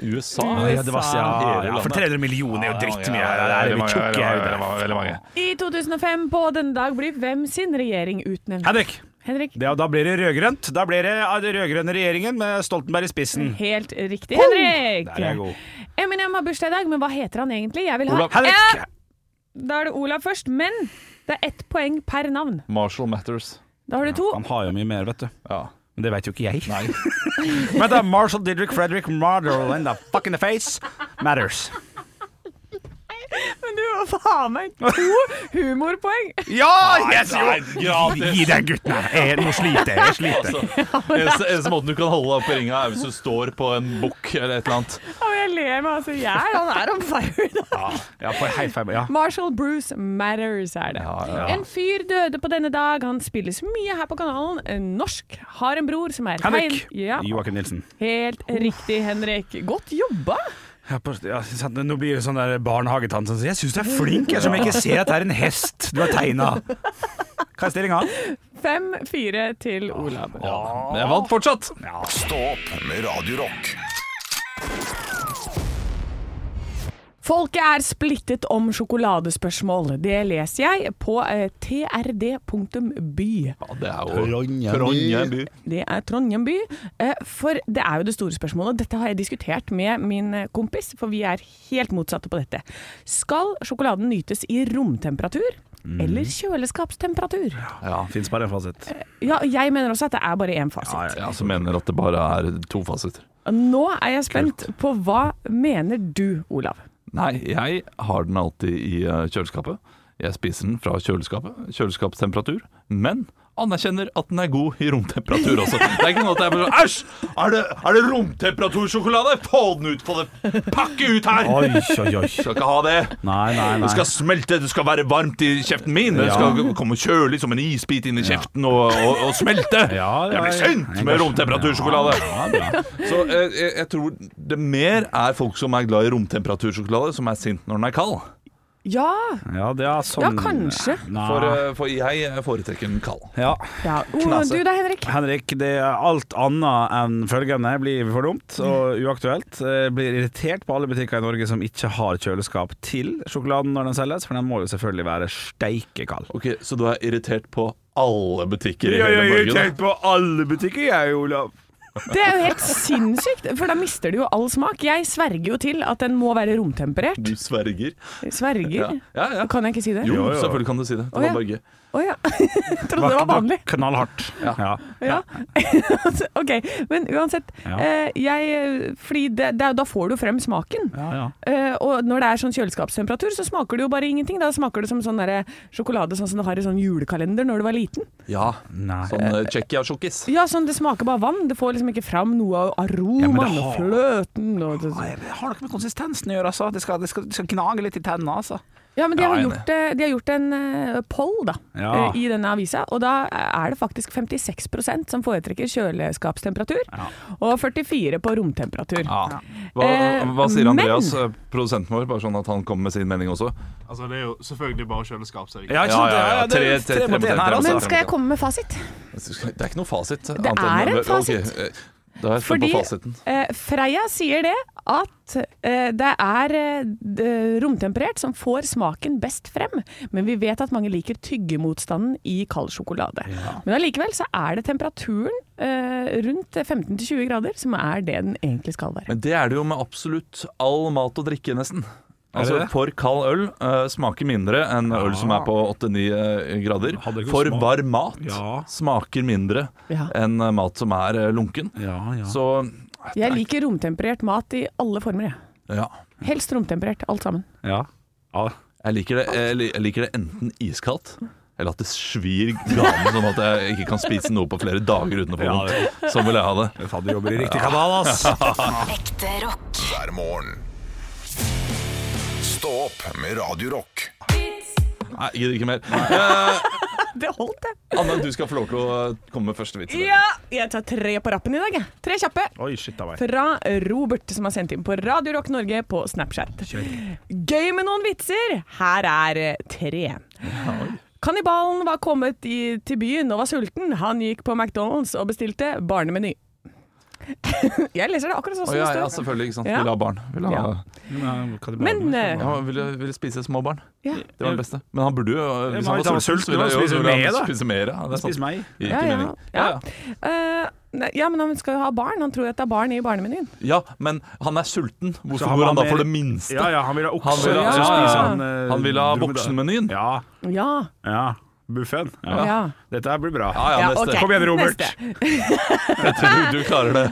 Speaker 4: USA.
Speaker 3: Ja, det var, ja,
Speaker 4: Hele
Speaker 3: ja, for
Speaker 4: landet.
Speaker 3: 300 millioner er jo drittmye. Ja, det er
Speaker 4: Veldig
Speaker 3: vi
Speaker 4: mange,
Speaker 3: tjukke i
Speaker 4: veldig
Speaker 3: hodet.
Speaker 4: mange, veldig mange.
Speaker 5: I 2005 på denne dag blir hvem sin regjering utnevnt?
Speaker 3: Henrik.
Speaker 5: Henrik.
Speaker 3: Det, da blir det rød-grønt. Da blir det ja, den rød-grønne regjeringen med Stoltenberg i spissen.
Speaker 5: Helt riktig, Henrik!
Speaker 3: Der er jeg god.
Speaker 5: Eminem har bursdag i dag, men hva heter han egentlig? Jeg vil ha
Speaker 4: Olav.
Speaker 5: Ja,
Speaker 3: Henrik!
Speaker 5: Da er det Olav først, men det er ett poeng per navn.
Speaker 4: Marshall Matters.
Speaker 5: Da har du to.
Speaker 3: Han har jo mye mer, vet du.
Speaker 4: Ja.
Speaker 3: Men det vet jo ikke jeg.
Speaker 4: Nei.
Speaker 3: Men det er Marshall Didrik Frederick Marderland, the fuck in the face matters.
Speaker 5: Men du faen meg to humorpoeng!
Speaker 3: Ja! Yes, jo!
Speaker 4: Gratis!
Speaker 3: Gi den gutten her! Jeg- Nå sliter jeg. jeg sliter.
Speaker 4: Altså, Eneste, eneste måten du kan holde deg oppe i ringa, er hvis du står på en bukk eller et eller annet.
Speaker 5: Og jeg ler meg altså i hjel. Han er on fire i dag.
Speaker 4: Altså.
Speaker 3: Ja, for helt feil. Ja.
Speaker 5: Marshall Bruce Matters er det.
Speaker 4: ja.
Speaker 5: En fyr døde på denne dag. Han spilles mye her på kanalen. En Norsk. Har en bror som er
Speaker 3: Henrik.
Speaker 5: Hein- Ja,
Speaker 3: Joakim Nilsen.
Speaker 5: helt riktig, Henrik. Godt jobba!
Speaker 3: Ja, på- ja, sant, nå blir det sånn der barnehagetann som sier 'jeg syns du er flink', jeg, som jeg ikke ser at det er en hest du har tegna. Hva er stillinga?
Speaker 5: Fem-fire til Olav.
Speaker 4: Ja. Men jeg vant fortsatt!
Speaker 2: Stå opp med Radio Rock.
Speaker 5: Folket er splittet om sjokoladespørsmål. Det leser jeg på eh, trd.by.
Speaker 4: Ja, det er jo Trondheim by.
Speaker 5: Det er Trondheim by. Eh, For det er jo det store spørsmålet. Dette har jeg diskutert med min eh, kompis, for vi er helt motsatte på dette. Skal sjokoladen nytes i romtemperatur
Speaker 4: Mm.
Speaker 5: eller kjøleskapstemperatur?
Speaker 3: Ja, Fins bare en fasit.
Speaker 5: Ja, jeg mener også at det er bare én fasit.
Speaker 4: Jeg som mener at det bare er to fasiter.
Speaker 5: Nå er jeg spent på hva mener du, Olav?
Speaker 4: Nei, jeg har den alltid i eh, kjøleskapet. Jeg spiser den fra kjøleskapet. Kjøleskapstemperatur. Men anerkjenner at den er god i romtemperatur også. Det er ikke noe at jeg bare sånn, Æsj! Er det, er det romtemperatursjokolade? Få den ut! Få det pakke ut her!
Speaker 3: Oi, oi, oi.
Speaker 4: Skal ikke ha det.
Speaker 3: Nei, nei, nei.
Speaker 4: Det skal smelte, det skal være varmt i kjeften min. Det
Speaker 3: Ja.
Speaker 4: skal komme kjølig som en isbit inn i kjeften og, og, og smelte.
Speaker 3: Ja, ja,
Speaker 4: jeg blir
Speaker 3: ja.
Speaker 4: sint med romtemperatursjokolade.
Speaker 3: Ja, bra.
Speaker 4: Så eh, jeg, jeg tror det mer er folk som er glad i romtemperatursjokolade, som er sint når den er kald.
Speaker 5: Ja,
Speaker 3: ja, det er sånn
Speaker 5: ja kanskje.
Speaker 3: Nei.
Speaker 4: For, eh, for jeg foretrekker den kald.
Speaker 3: ja.
Speaker 5: Ja. Olav,
Speaker 3: Knase.
Speaker 5: Du da, Henrik?
Speaker 3: Henrik, det er alt annet enn følgende blir for dumt og uaktuelt. Jeg blir irritert på alle butikker i Norge som ikke har kjøleskap til sjokoladen når den selges, for den må jo selvfølgelig være steikekald.
Speaker 4: Ok, Så du er irritert på alle butikker i
Speaker 3: Jeg er
Speaker 4: hele Norge? da?
Speaker 3: irritert på alle butikker, jeg, Olav.
Speaker 5: Det er jo helt sinnssykt, for da mister du jo all smak. Jeg sverger jo til at den må være romtemperert.
Speaker 4: Du sverger?
Speaker 5: Sverger?
Speaker 4: Ja, ja. ja.
Speaker 5: Kan jeg ikke si det?
Speaker 4: Jo,
Speaker 3: Jo, jo.
Speaker 4: selvfølgelig kan du si det. Det
Speaker 5: Å, ja.
Speaker 4: var bare gøy.
Speaker 5: Å ja. Trodde det var vanlig.
Speaker 3: Knallhardt. Ja.
Speaker 5: Ja. ok, men uansett.
Speaker 3: Ja.
Speaker 5: Eh, jeg, fordi det, det, er- da får du frem smaken.
Speaker 3: Ja, ja.
Speaker 5: Eh, og når det er sånn kjøleskapstemperatur, så smaker det jo bare ingenting. Da smaker det som sånn derre sjokolade sånn som du har i sånn julekalender når du var liten.
Speaker 4: Ja.
Speaker 3: Nei.
Speaker 4: Sånn eh, Tsjekkia-sjokkis.
Speaker 5: Ja, sånn Det smaker bare vann. Det får liksom ikke fram noe av
Speaker 3: Ja, men det
Speaker 5: aromaen og
Speaker 3: har-
Speaker 5: fløten. Og det,
Speaker 3: Nei, Det har noe med konsistensen å gjøre, altså. Det skal, det skal, det skal gnage litt i tennene, altså.
Speaker 5: Ja, men de
Speaker 4: Ja,
Speaker 5: har,
Speaker 4: jeg er
Speaker 5: gjort, eh, de har gjort en eh, poll da,
Speaker 3: Ja.
Speaker 5: eh, i denne avisa, og da er det faktisk 56 som foretrekker kjøleskapstemperatur, og 44 på romtemperatur.
Speaker 4: Ja. Hva,
Speaker 5: Eh,
Speaker 4: hva sier
Speaker 5: men-
Speaker 4: Andreas, eh, produsenten vår, bare sånn at han kommer med sin mening også?
Speaker 1: Altså, det er jo selvfølgelig bare kjøleskap. så jeg-
Speaker 3: Ja, ikke sant? Ja, ja, det er
Speaker 4: Tre- tre- tre mot en her, altså.
Speaker 5: Men skal jeg komme med fasit?
Speaker 4: Det er ikke noe fasit. Det
Speaker 5: er en fasit.
Speaker 4: Da er Eh, jeg spent
Speaker 5: Fordi
Speaker 4: på fasiten.
Speaker 5: eh, Freya sier det, at eh, det er eh, d- romtemperert som får smaken best frem, men vi vet at mange liker tyggemotstanden i kald sjokolade. Men allikevel så er det temperaturen eh, rundt 15-20 grader som er det den egentlig skal være.
Speaker 4: Men det er det jo med absolutt all mat og drikke, nesten. Altså,
Speaker 3: det?
Speaker 4: For kald øl eh, smaker mindre enn øl som er på 8-9 eh, grader.
Speaker 3: Hadde ikke
Speaker 4: For
Speaker 3: smak-
Speaker 4: varm mat
Speaker 3: Ja.
Speaker 4: smaker mindre
Speaker 5: Ja.
Speaker 4: enn eh, mat som er eh, lunken.
Speaker 3: Ja, ja.
Speaker 4: Så
Speaker 5: Jeg liker romtemperert mat i alle former, jeg.
Speaker 4: ja.
Speaker 5: Helst romtemperert, alt sammen.
Speaker 3: ja. ja.
Speaker 4: Jeg liker det, jeg li- jeg liker det enten iskaldt eller at det svir ganen sånn at jeg ikke kan spise noe på flere dager uten å få
Speaker 3: Ja, det-
Speaker 4: vondt. Sånn vil jeg ha det.
Speaker 3: Fadder jobber i riktig kanal, ass.
Speaker 8: Ekte rock.
Speaker 2: hver morgen. Stå opp med Radio Rock.
Speaker 4: Nei, jeg gidder ikke mer.
Speaker 5: Det holdt, det.
Speaker 4: Anne, du skal få lov til å komme med første vitsen.
Speaker 5: Ja! Jeg tar tre på rappen i dag, jeg. Tre kjappe.
Speaker 3: Oi, shit av meg.
Speaker 5: Fra Robert, som har sendt inn på Radio Rock Norge på Snapchat. Gøy med noen vitser! Her er eh, tre. Kannibalen var kommet i, til byen og var sulten. Han gikk på McDonald's og bestilte barnemeny. Jeg leser det akkurat sånn
Speaker 4: Å,
Speaker 5: som
Speaker 4: ja, altså, ja,
Speaker 5: det står.
Speaker 4: selvfølgelig. ikke sant?
Speaker 5: Ja.
Speaker 4: Vil ha barn. Vil ha,
Speaker 5: Ja. Men
Speaker 3: Men
Speaker 5: eh,
Speaker 4: ja, vil, vil spise små barn.
Speaker 5: ja.
Speaker 4: Det var det beste. Men han burde jo
Speaker 3: men
Speaker 4: Hvis han
Speaker 3: hvis han
Speaker 4: var
Speaker 3: var
Speaker 4: sulten,
Speaker 3: sulten,
Speaker 4: så ville
Speaker 3: da
Speaker 4: jeg jo-
Speaker 3: spiser
Speaker 4: ville
Speaker 3: mer,
Speaker 4: han
Speaker 3: da.
Speaker 4: spise mer. Ja,
Speaker 3: Spis meg.
Speaker 4: det er sant. Gir
Speaker 5: Ja,
Speaker 4: ikke
Speaker 5: ja.
Speaker 4: mening.
Speaker 5: Ja.
Speaker 4: Ja,
Speaker 5: Eh, nei, ja, men han skal jo ha barn. Han tror at det er barn i barnemenyen.
Speaker 4: ja, men han er sulten.
Speaker 3: Så
Speaker 4: Hvorfor
Speaker 3: han
Speaker 4: går han
Speaker 3: var
Speaker 4: da for
Speaker 3: mer-
Speaker 4: det minste?
Speaker 3: Ja, ja, han vil ha
Speaker 4: Han
Speaker 3: okse.
Speaker 4: vil ha,
Speaker 5: så
Speaker 4: ja,
Speaker 5: spiser
Speaker 4: ja,
Speaker 5: han,
Speaker 4: ja.
Speaker 3: eh,
Speaker 4: han vil ha
Speaker 3: dromedar.
Speaker 4: voksenmenyen. Ja,
Speaker 3: Ja,
Speaker 5: Ja.
Speaker 3: ja. Buffen. Ja.
Speaker 5: ja.
Speaker 3: Dette her blir bra.
Speaker 4: ja,
Speaker 5: Ja,
Speaker 4: neste.
Speaker 5: ok.
Speaker 3: Kom igjen, Robert.
Speaker 5: Neste.
Speaker 4: Jeg tror du, du klarer det.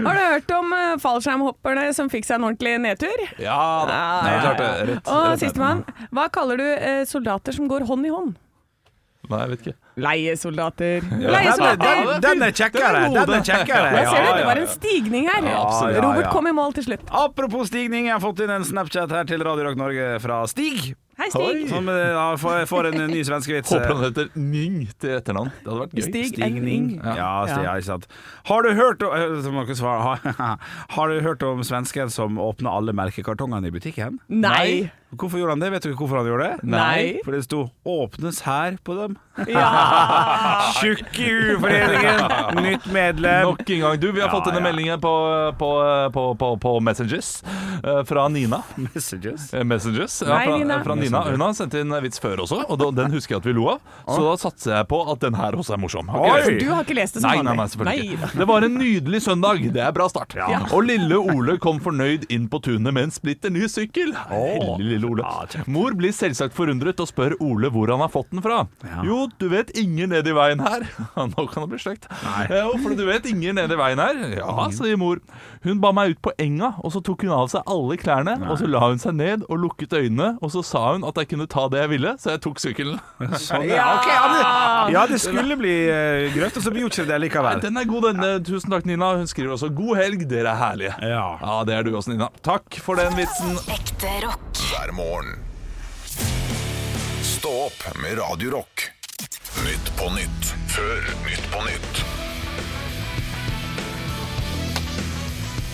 Speaker 5: Har du hørt om eh, fallskjermhopperne som fikk seg en ordentlig nedtur?
Speaker 4: Ja da.
Speaker 5: Ah,
Speaker 4: Nei,
Speaker 5: ja,
Speaker 4: klart det. Rett.
Speaker 5: Og
Speaker 4: rett
Speaker 5: sistemann, hva kaller du eh, soldater som går hånd i hånd?
Speaker 4: Nei, jeg vet ikke.
Speaker 5: Leiesoldater.
Speaker 3: Den er, den,
Speaker 5: Leiesoldater!
Speaker 3: den er kjekkere! Den er kjekkere.
Speaker 5: Jeg ser det, det
Speaker 3: Ja,
Speaker 5: var
Speaker 3: ja.
Speaker 5: en stigning her.
Speaker 3: Ja, absolutt. Ja,
Speaker 5: Robert
Speaker 3: ja.
Speaker 5: kom i mål til slutt.
Speaker 3: Apropos stigning, jeg har fått inn en Snapchat her til Radio Rock Norge fra Stig.
Speaker 5: Hei, Stig.
Speaker 3: Som eh, ja, får får en ny eh, svenskevits.
Speaker 4: Håper han heter Ning til etternavn. Det hadde vært gøy.
Speaker 5: Stig
Speaker 3: Stigning.
Speaker 5: Enning.
Speaker 3: Ja, Stig, ja, ikke sant. Har du hørt om, eh, så må dere svare. Har- har du hørt om svensken som åpna alle merkekartongene i butikken?
Speaker 5: Nei.
Speaker 3: Hvorfor gjorde han det? Vet du hvorfor han gjorde det?
Speaker 5: Nei.
Speaker 3: For det sto 'åpnes her' på dem.
Speaker 5: Ja.
Speaker 3: Tjukk i U-foreningen, nytt medlem.
Speaker 4: Nok en gang. Du, vi har
Speaker 3: Ja,
Speaker 4: fått inn en
Speaker 3: ja.
Speaker 4: melding her på, på, på, på, på Messengers eh, fra Nina.
Speaker 3: Messages.
Speaker 4: Eh, Messengers ja,
Speaker 5: Nei,
Speaker 4: fra, eh,
Speaker 5: Nina.
Speaker 4: fra Nina. Hun har sendt inn en vits før også, og da- den husker jeg at vi lo av. Så da satser jeg på at den her også er morsom. Har ikke
Speaker 3: Oi!
Speaker 4: dere
Speaker 5: For du har ikke lest det som
Speaker 4: Nei, nei,
Speaker 5: vanlig?
Speaker 4: nei, selvfølgelig
Speaker 5: Nei.
Speaker 4: ikke. Det var en nydelig søndag. Det er bra start. Og lille Ole kom fornøyd inn på tunet med en splitter ny sykkel. Heldig lille Ole. Mor blir selvsagt forundret og spør Ole hvor han har fått den fra. Jo, du vet ingen nede i veien her. Nå kan det bli slekt. Jo, for du vet ingen nede i veien her. Ja, sier mor. Hun ba meg ut på enga, og så tok hun av seg alle klærne. Og så la hun seg ned og lukket øynene, og så sa hun at jeg kunne ta det jeg ville, så jeg tok sykkelen.
Speaker 3: Sånn, ja. ok, ja, det, ja, det skulle bli eh, grøft, og så blir jo ikke det likevel.
Speaker 4: Den er god, denne. Tusen takk, Nina. Hun skriver også 'God helg, dere er herlige'.
Speaker 3: Ja.
Speaker 4: Ja, det er du også, Nina. Takk for den vitsen.
Speaker 8: Ekte rock.
Speaker 2: hver morgen. Stå opp med Radio Rock. Nytt på nytt før Nytt på nytt.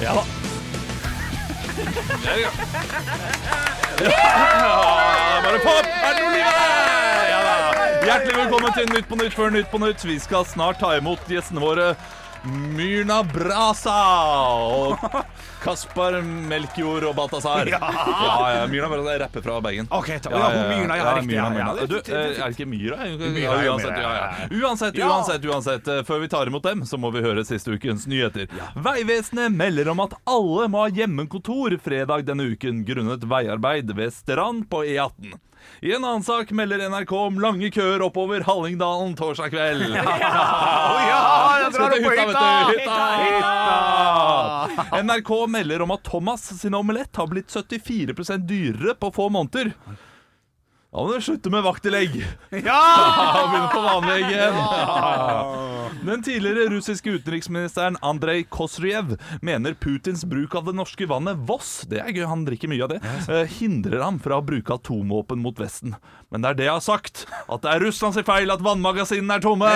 Speaker 4: Ja da. Ja, bare pop! Er det noe liv her? Ja da. Hjertelig velkommen til Nytt på Nytt før Nytt på Nytt. Vi skal snart ta imot gjestene våre. Myrna Brasa og Kaspar Melkjord og Balthazar. Ja, ja, Myrna Brasa er rapper fra Bergen.
Speaker 3: Ok, ta- ja, hun Myrna, ja, riktig,
Speaker 4: Myrna,
Speaker 3: ja, ja.
Speaker 4: Myrna. Du, eh, er det ikke Myra?
Speaker 3: Myra,
Speaker 4: ja,
Speaker 3: ja,
Speaker 4: uansett,
Speaker 3: Myra,
Speaker 4: ja,
Speaker 3: ja,
Speaker 4: ja. Uansett, uansett, uansett. eh, Før vi tar imot dem, så må vi høre siste ukens nyheter. Vegvesenet melder om at alle må ha hjemmekontor fredag denne uken grunnet veiarbeid ved Strand på E18. I en annen sak melder NRK om lange køer oppover Hallingdalen torsdag kveld.
Speaker 3: Ja, jeg
Speaker 4: Skal
Speaker 3: drar opp
Speaker 4: til
Speaker 3: på
Speaker 4: hytta, vet du.
Speaker 3: hytta!
Speaker 4: Hytta! NRK melder om at Thomas sin omelett har blitt 74 dyrere på få måneder. Da må du slutte med vaktelegg. Ja, Begynne på vanlig egg igjen. Den tidligere russiske utenriksministeren Andrej Kosryev mener Putins bruk av det norske vannet Voss det er gøy, han drikker mye av det, eh, hindrer ham fra å bruke atomvåpen mot Vesten. Men det er det jeg har sagt, at det er Russland sin feil at vannmagasinene er tomme!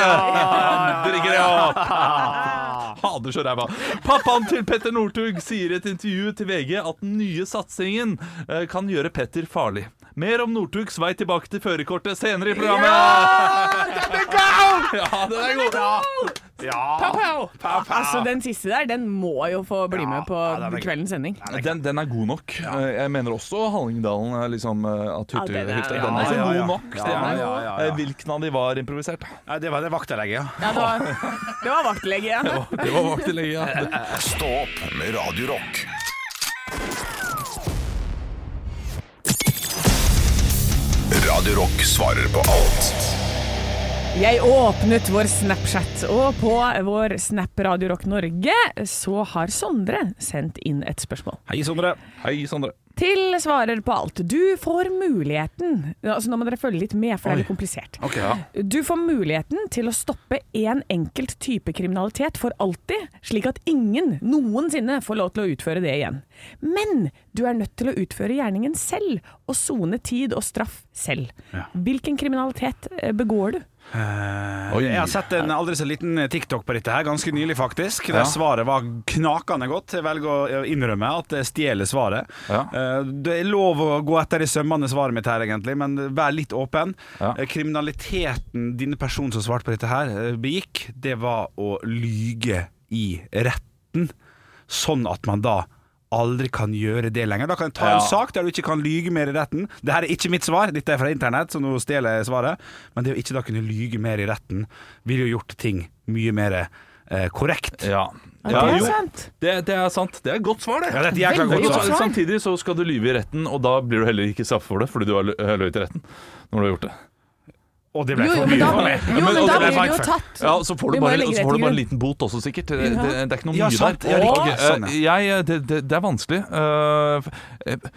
Speaker 4: Drikker jeg opp! Hader så ræva. Pappaen til Petter Northug sier i et intervju til VG at den nye satsingen eh, kan gjøre Petter farlig. Mer om Northugs vei tilbake til førerkortet senere i programmet. Ja, den er god!
Speaker 5: Altså, den siste der, den må jo få bli med på
Speaker 3: ja, den er
Speaker 5: kveldens sending.
Speaker 4: Den, den er god nok. Eh, Jeg mener også Hallingdalen er liksom eh, at hytte,
Speaker 5: Ja, den er-
Speaker 4: hytta,
Speaker 5: ja,
Speaker 4: den er
Speaker 3: ja,
Speaker 4: god
Speaker 3: ja.
Speaker 4: nok.
Speaker 3: Ja,
Speaker 4: det er den.
Speaker 3: ja, ja, ja.
Speaker 4: Eh, Hvilken av de var improvisert?
Speaker 3: Nei, det var det vaktelegget, ja.
Speaker 5: Ja, det var, det var vaktlege, ja.
Speaker 4: Det var vaktelegge. Ja.
Speaker 2: Stå opp med Radio Rock. Radio Rock svarer på alt.
Speaker 5: Jeg åpnet vår Snapchat, og på vår Snap Radio Rock Norge så har Sondre sendt inn et spørsmål.
Speaker 3: Hei, Sondre.
Speaker 4: Hei, Sondre.
Speaker 5: Til svarer på alt. Du får muligheten ja, altså Nå må dere følge litt med, for det er litt komplisert. Du får muligheten til å stoppe én enkelt type kriminalitet for alltid, slik at ingen noensinne får lov til å utføre det igjen. Men du er nødt til å utføre gjerningen selv, og sone tid og straff selv. Hvilken kriminalitet eh, begår du?
Speaker 4: Oi.
Speaker 3: Jeg har sett en aldri så liten eh, TikTok på dette her, ganske nylig faktisk, der svaret var knakende godt. Jeg velger å eh, innrømme at jeg stjeler svaret.
Speaker 4: Ja.
Speaker 3: Eh, Det er lov å gå etter i sømmene svaret mitt her, egentlig, men vær litt åpen.
Speaker 4: Ja.
Speaker 3: Eh, Kriminaliteten denne personen som svarte på dette her, eh, begikk, det var å lyge i retten, sånn at man da aldri kan gjøre det lenger. Da kan jeg ta
Speaker 4: Ja.
Speaker 3: en sak der du ikke kan lyge mer i retten. Dette er ikke mitt svar, dette er fra internett, så nå stjeler jeg svaret. Men det å ikke da kunne lyge mer i retten, ville jo gjort ting mye mer eh, korrekt.
Speaker 4: Ja.
Speaker 5: Er det altså?
Speaker 4: jo.
Speaker 5: sant?
Speaker 4: Det, det er sant. Det er godt svar, det.
Speaker 3: Ja, det er et jækla
Speaker 5: Veldig
Speaker 3: godt
Speaker 5: godt
Speaker 3: svar.
Speaker 5: svar.
Speaker 4: Samtidig så skal eh, du lyve i retten, og da blir du heller ikke straffet for det fordi du har lø- løyet i retten når du har gjort det.
Speaker 3: Og det ble
Speaker 5: Jo, jo,
Speaker 3: for
Speaker 5: men
Speaker 3: mye
Speaker 5: da,
Speaker 3: for meg.
Speaker 5: jo, men
Speaker 4: Men-
Speaker 5: da
Speaker 4: og det
Speaker 5: blir
Speaker 4: er
Speaker 5: det jo
Speaker 3: feil.
Speaker 5: tatt.
Speaker 4: Ja, Så får du
Speaker 5: Vi må
Speaker 4: bare,
Speaker 5: legge
Speaker 4: så
Speaker 5: det
Speaker 4: får
Speaker 5: til
Speaker 4: du bare en
Speaker 5: grunn.
Speaker 4: liten bot også, sikkert. Det,
Speaker 5: Ja.
Speaker 4: det, det er ikke noe
Speaker 3: Ja,
Speaker 4: mye
Speaker 3: sant.
Speaker 4: der.
Speaker 3: Ja, riktig.
Speaker 4: Ok, eh,
Speaker 3: Sånn,
Speaker 4: jeg, det, det, det er vanskelig. Eh, f- eh,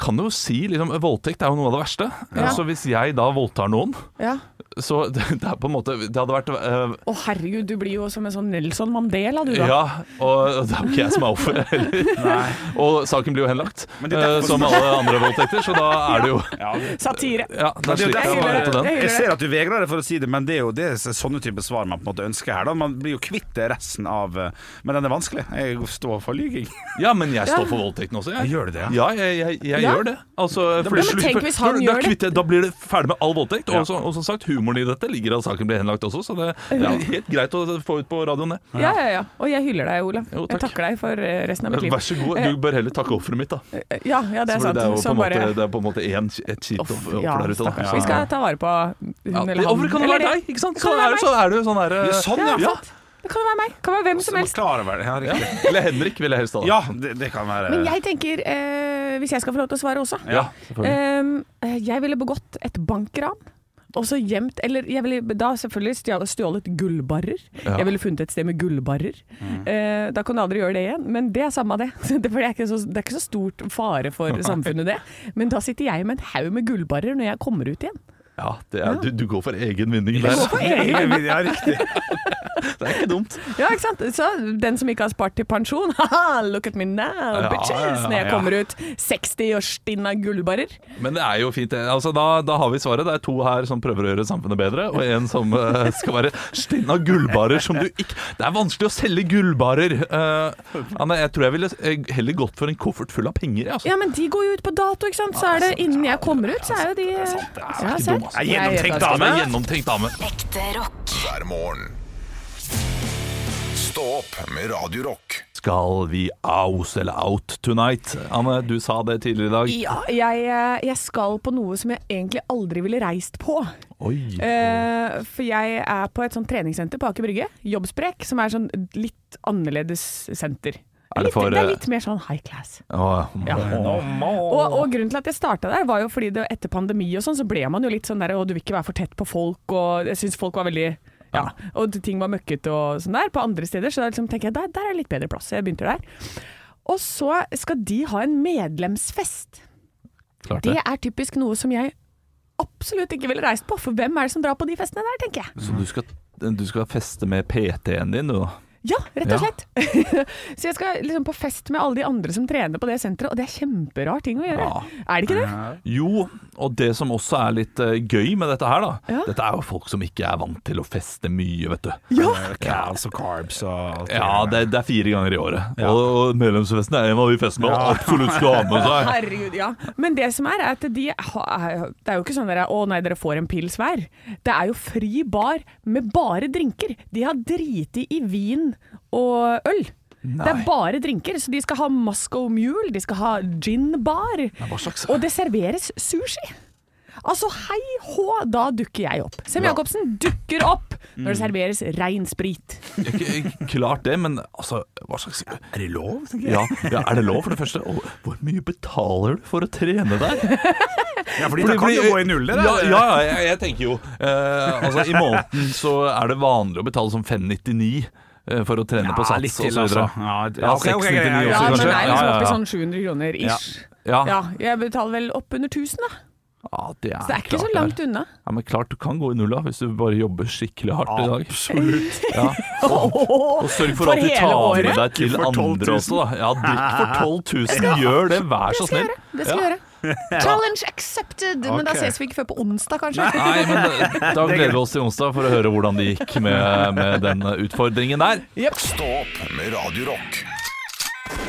Speaker 4: kan jo si liksom, Voldtekt er jo noe av det verste. Eh,
Speaker 5: Ja.
Speaker 4: Så hvis jeg da voldtar noen,
Speaker 5: Ja.
Speaker 4: så det, det er på en måte Det hadde vært eh,
Speaker 5: Å herregud, du blir jo som en sånn Nelson Mandela, du da.
Speaker 4: Ja, og det er jo ikke jeg som er offer heller. Og saken blir jo henlagt,
Speaker 3: Men det er derfor-
Speaker 4: eh, som alle andre voldtekter, så da er det jo
Speaker 3: Ja,
Speaker 5: Satire.
Speaker 4: Ja, da
Speaker 3: det er jo
Speaker 4: slipper jeg
Speaker 3: derfor-
Speaker 4: å være på den.
Speaker 3: jeg ser at du vegrer deg for å si det, men det er jo det er sånne type svar man på en måte ønsker her. Da. Man blir jo kvitt resten av eh, Men den er vanskelig. Jeg står for lyging.
Speaker 4: Ja, men jeg står for voldtekten også, jeg.
Speaker 3: Gjør du det, ja?
Speaker 4: Ja, jeg, jeg, jeg
Speaker 5: Ja.
Speaker 4: gjør det. Altså, for
Speaker 5: men
Speaker 4: det slipper-
Speaker 5: tenk hvis han
Speaker 4: da,
Speaker 5: gjør
Speaker 4: da
Speaker 5: det.
Speaker 4: kvitter jeg- Da blir det ferdig med all voldtekt.
Speaker 3: Ja.
Speaker 4: Og, så, og som sagt, humoren i dette ligger at saken blir henlagt også, så det, det er helt greit å få ut på radioen, det.
Speaker 5: Ja, ja, ja. Og jeg hyller deg, Olav.
Speaker 4: Jo,
Speaker 5: jeg
Speaker 4: takk.
Speaker 5: takker deg for eh, resten av mitt liv.
Speaker 4: Vær så god, du bør heller takke offeret mitt, da.
Speaker 5: Ja, ja, det
Speaker 4: Fordi
Speaker 5: er sant.
Speaker 4: det er jo på
Speaker 5: Så
Speaker 4: en måte,
Speaker 5: bare
Speaker 4: det er på en måte en, et kjipt
Speaker 5: Off,
Speaker 4: offer
Speaker 5: ja,
Speaker 4: der ute, da.
Speaker 5: stakkars.
Speaker 4: Så-
Speaker 5: Vi skal ta vare på hun
Speaker 4: ja,
Speaker 5: eller han.
Speaker 4: Offeret kan jo
Speaker 5: Eller
Speaker 4: være
Speaker 5: det-
Speaker 4: deg, ikke sant?
Speaker 5: kan
Speaker 4: Sånn
Speaker 5: være
Speaker 4: er, det- sånn er det jo sånn er det.
Speaker 3: Ja, sånn,
Speaker 5: Ja,
Speaker 3: ja.
Speaker 5: sant. Det kan jo være meg. Det kan være hvem som
Speaker 3: Man
Speaker 5: helst.
Speaker 3: klarer over det. Ja, riktig.
Speaker 4: Eller Henrik ville jeg helst ha det.
Speaker 3: ja det, det kan være
Speaker 5: Men jeg tenker, eh, hvis jeg skal få lov til å svare også
Speaker 4: Ja, selvfølgelig.
Speaker 5: Ehm, Jeg ville begått et bankran. Og så gjemt Eller jeg ville da selvfølgelig stjal- stjålet gullbarrer.
Speaker 4: Ja. Mm.
Speaker 5: Jeg ville funnet et sted med gullbarrer. Eh, da kan du aldri gjøre det igjen, men det er samme av det. det, for det, er ikke så, det er ikke så stort fare for samfunnet, det. Men da sitter jeg med en haug med gullbarrer når jeg kommer ut igjen.
Speaker 4: Ja, det er, du, du går for egen vinning
Speaker 3: Ja,
Speaker 4: der.
Speaker 3: ja, riktig.
Speaker 4: Det er ikke dumt.
Speaker 5: Ja, ikke sant? Så den som ikke har spart til pensjon, haha, look at me now,
Speaker 4: Ja,
Speaker 5: bitches!
Speaker 4: ja, ja,
Speaker 5: Når jeg
Speaker 4: ja.
Speaker 5: kommer ut 60 og stinn av gullbarrer.
Speaker 4: Men det er jo fint. det. Altså, da, da har vi svaret. Det er to her som prøver å gjøre samfunnet bedre, og en som eh, skal være stinn av gullbarer som du ikke Det er vanskelig å selge gullbarer! Eh, Anne, jeg tror jeg ville eh, heller gått for en koffert full av penger, jeg, altså.
Speaker 5: Ja, men de går jo ut på dato, ikke sant? Så er det innen jeg kommer ut, så er jo de Ja, serr.
Speaker 4: dumt, altså.
Speaker 3: Jeg er
Speaker 5: Jeg
Speaker 3: gjennomtenkt, da.
Speaker 5: vet altså.
Speaker 4: Dame, gjennomtenkt dame.
Speaker 8: Ekte rock.
Speaker 2: hver morgen. Stå opp med Radio Rock.
Speaker 4: Skal vi aus eller out tonight? Anne, du sa det tidligere i dag.
Speaker 5: Ja, jeg, eh, jeg skal på noe som jeg egentlig aldri ville reist på.
Speaker 4: Oi.
Speaker 5: Eh, for jeg er på et sånt treningssenter på Aker Brygge, Jobbsprek, som er sånn litt annerledes senter.
Speaker 4: Er det
Speaker 5: Litt,
Speaker 4: for,
Speaker 5: det er
Speaker 4: eh,
Speaker 5: litt mer sånn high class.
Speaker 4: Å, å.
Speaker 5: Og, og grunnen til at jeg starta der, var jo fordi det, etter pandemi og sånn, så ble man jo litt sånn der Å, du vil ikke være for tett på folk, og jeg syns folk var veldig ja, og ting var møkkete og sånn der på andre steder, så da liksom tenker jeg der, der er litt bedre plass. Så jeg begynte der. Og så skal de ha en medlemsfest.
Speaker 4: Klart
Speaker 5: Det
Speaker 4: det.
Speaker 5: er typisk noe som jeg absolutt ikke ville reist på, for hvem er det som drar på de festene der, tenker jeg.
Speaker 4: Så du skal, du skal feste med PT-en din, du, da?
Speaker 5: Ja, rett og
Speaker 4: Ja.
Speaker 5: slett. så jeg skal liksom på fest med alle de andre som trener på det senteret, og det er kjemperar ting å gjøre.
Speaker 4: Ja. Eh,
Speaker 5: Er det ikke det?
Speaker 4: Jo, og det som også er litt eh, gøy med dette her, da.
Speaker 5: Ja.
Speaker 4: Dette er jo folk som ikke er vant til å feste mye, vet du.
Speaker 5: Ja!
Speaker 3: Cals og carbs og alt
Speaker 4: Ja,
Speaker 3: det
Speaker 4: det, det er fire ganger i året. Og, og medlemsfesten er en av de festene man absolutt skal ha med seg.
Speaker 5: Herregud, ja. Men det som er, er at de har- Det er jo ikke sånn dere Å nei, dere får en pils hver. Det er jo fri bar med bare drinker. De har driti i vin og øl. Det er bare drinker, så de skal ha Moscow Mule, de skal ha gin-bar.
Speaker 4: slags-
Speaker 5: Og det serveres sushi. Altså hei hå, da dukker jeg opp. Sem Jacobsen dukker opp når
Speaker 4: Mm.
Speaker 5: det serveres rein sprit.
Speaker 4: Ikke- ikke Klart det, men altså hva slags Er det lov, tenker jeg? Ja, ja, er det lov, for det første? Og hvor mye betaler du for å trene der?
Speaker 3: Ja, fordi det kan jo gå i null, det
Speaker 4: Ja,
Speaker 3: der.
Speaker 4: ja jeg, jeg tenker jo eh, Altså, i måneden så er det vanlig å betale sånn 599 eh, for å trene på
Speaker 3: Ja,
Speaker 4: sats
Speaker 3: litt til,
Speaker 4: og så videre.
Speaker 3: altså. Ja, d-
Speaker 4: Ja,
Speaker 3: ok, ok,
Speaker 4: 699
Speaker 3: greit, ja,
Speaker 4: også,
Speaker 5: Ja, men
Speaker 4: kanskje.
Speaker 5: det er liksom
Speaker 4: Ja, ja,
Speaker 5: oppi
Speaker 4: ja.
Speaker 5: sånn 700 kroner ish.
Speaker 4: Ja.
Speaker 5: Ja, jeg betaler vel oppunder 1000 da.
Speaker 4: Ja, det er,
Speaker 5: Så det er ikke
Speaker 4: klart
Speaker 5: så
Speaker 4: det er.
Speaker 5: langt unna.
Speaker 4: Ja, men klart du kan gå i nulla hvis du bare jobber skikkelig hardt i dag.
Speaker 3: Absolutt.
Speaker 4: Ja. Og sørg for,
Speaker 5: For
Speaker 4: at du
Speaker 5: hele
Speaker 4: tar
Speaker 5: året?
Speaker 4: med deg til
Speaker 3: for 12 000.
Speaker 4: andre også, da. Ja, drikk for 12 000. Gjør det, vær så
Speaker 5: Det skal jeg
Speaker 4: snill.
Speaker 5: gjøre. Det skal jeg gjøre. Challenge accepted! Men da
Speaker 3: Ok.
Speaker 5: ses vi ikke før på onsdag, kanskje.
Speaker 4: Nei, men da- da gleder vi oss til onsdag for å høre hvordan det gikk med, med den eh, utfordringen der.
Speaker 2: Stå opp med Radio Rock.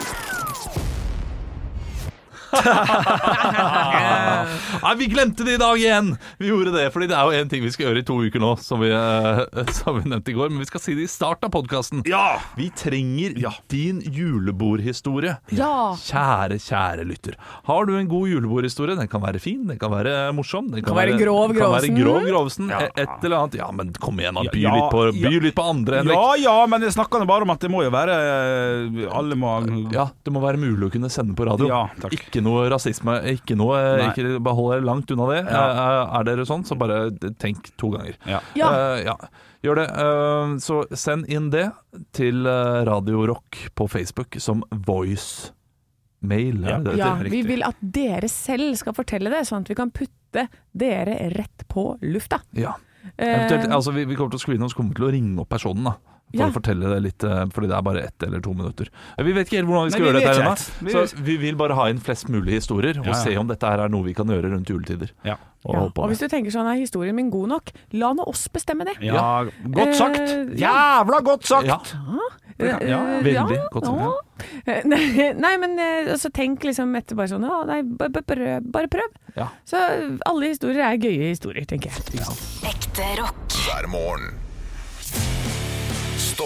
Speaker 4: Nei, vi glemte det i dag igjen! Vi gjorde det, fordi det er jo en ting vi skal gjøre i to uker nå, som vi, eh, som vi nevnte i går. Men vi skal si det i starten av podkasten.
Speaker 3: Ja!
Speaker 4: Vi trenger din julebordhistorie.
Speaker 5: Ja.
Speaker 4: Kjære, kjære lytter. Har du en god julebordhistorie? Den kan være fin, den kan være morsom. Den kan,
Speaker 5: være grov
Speaker 4: kan være
Speaker 5: grovsen.
Speaker 4: grov grovsen. e- Et eller annet. Ja, men kom igjen, da. By,
Speaker 3: Ja,
Speaker 4: litt, på,
Speaker 3: ja.
Speaker 4: by litt på andre, Henrik.
Speaker 3: Ja, ja, men jeg snakker nå bare om at det må jo være eh, Alle må
Speaker 4: Ja, det må være mulig å kunne sende på radio.
Speaker 3: Ja, takk.
Speaker 4: Ikke Ikke noe rasisme, ikke noe eh,
Speaker 3: Nei.
Speaker 4: ikke, Bare hold dere langt unna det.
Speaker 3: Ja.
Speaker 4: Eh, Er dere sånn, så bare tenk to ganger.
Speaker 3: Ja.
Speaker 5: Ja.
Speaker 4: Eh, ja. Gjør det. Eh, så send inn det til eh, Radio Rock på Facebook som voice-mail.
Speaker 3: Ja.
Speaker 4: Er det det
Speaker 5: Ja,
Speaker 4: heter?
Speaker 5: vi vil at dere selv skal fortelle det, sånn at vi kan putte dere rett på lufta.
Speaker 4: ja.
Speaker 5: Eh,
Speaker 4: Eventuelt, altså, vi, vi kommer til å screene og så kommer vi til å ringe opp personen. da for
Speaker 5: Ja.
Speaker 4: å fortelle det litt, eh, fordi det er bare ett eller to minutter. Eh, Vi vet ikke helt hvordan vi skal
Speaker 3: Nei, vi
Speaker 4: gjøre dette.
Speaker 3: vet
Speaker 4: her
Speaker 3: ikke
Speaker 4: ennå.
Speaker 3: helt.
Speaker 4: Så vi vil bare ha inn flest mulig historier, og
Speaker 3: Ja, ja.
Speaker 4: se om dette her er noe vi kan gjøre rundt juletider.
Speaker 3: Ja.
Speaker 4: Og
Speaker 5: ja.
Speaker 4: holde på
Speaker 5: Og
Speaker 4: med.
Speaker 5: hvis du tenker sånn er historien min god nok, la nå oss bestemme det.
Speaker 3: ja. Godt sagt!
Speaker 5: Eh,
Speaker 3: Jævla godt sagt!
Speaker 4: Ja,
Speaker 3: Ja, ja,
Speaker 5: Eh,
Speaker 4: veldig godt sagt,
Speaker 5: ja. Eh, Nei, nei, men eh, altså, tenk liksom etter bare sånn «Å, nei, b- b- prøv, bare prøv.
Speaker 4: Ja.
Speaker 5: Så alle historier er gøye historier, tenker jeg.
Speaker 8: Ekte rock.
Speaker 2: hver morgen. Stå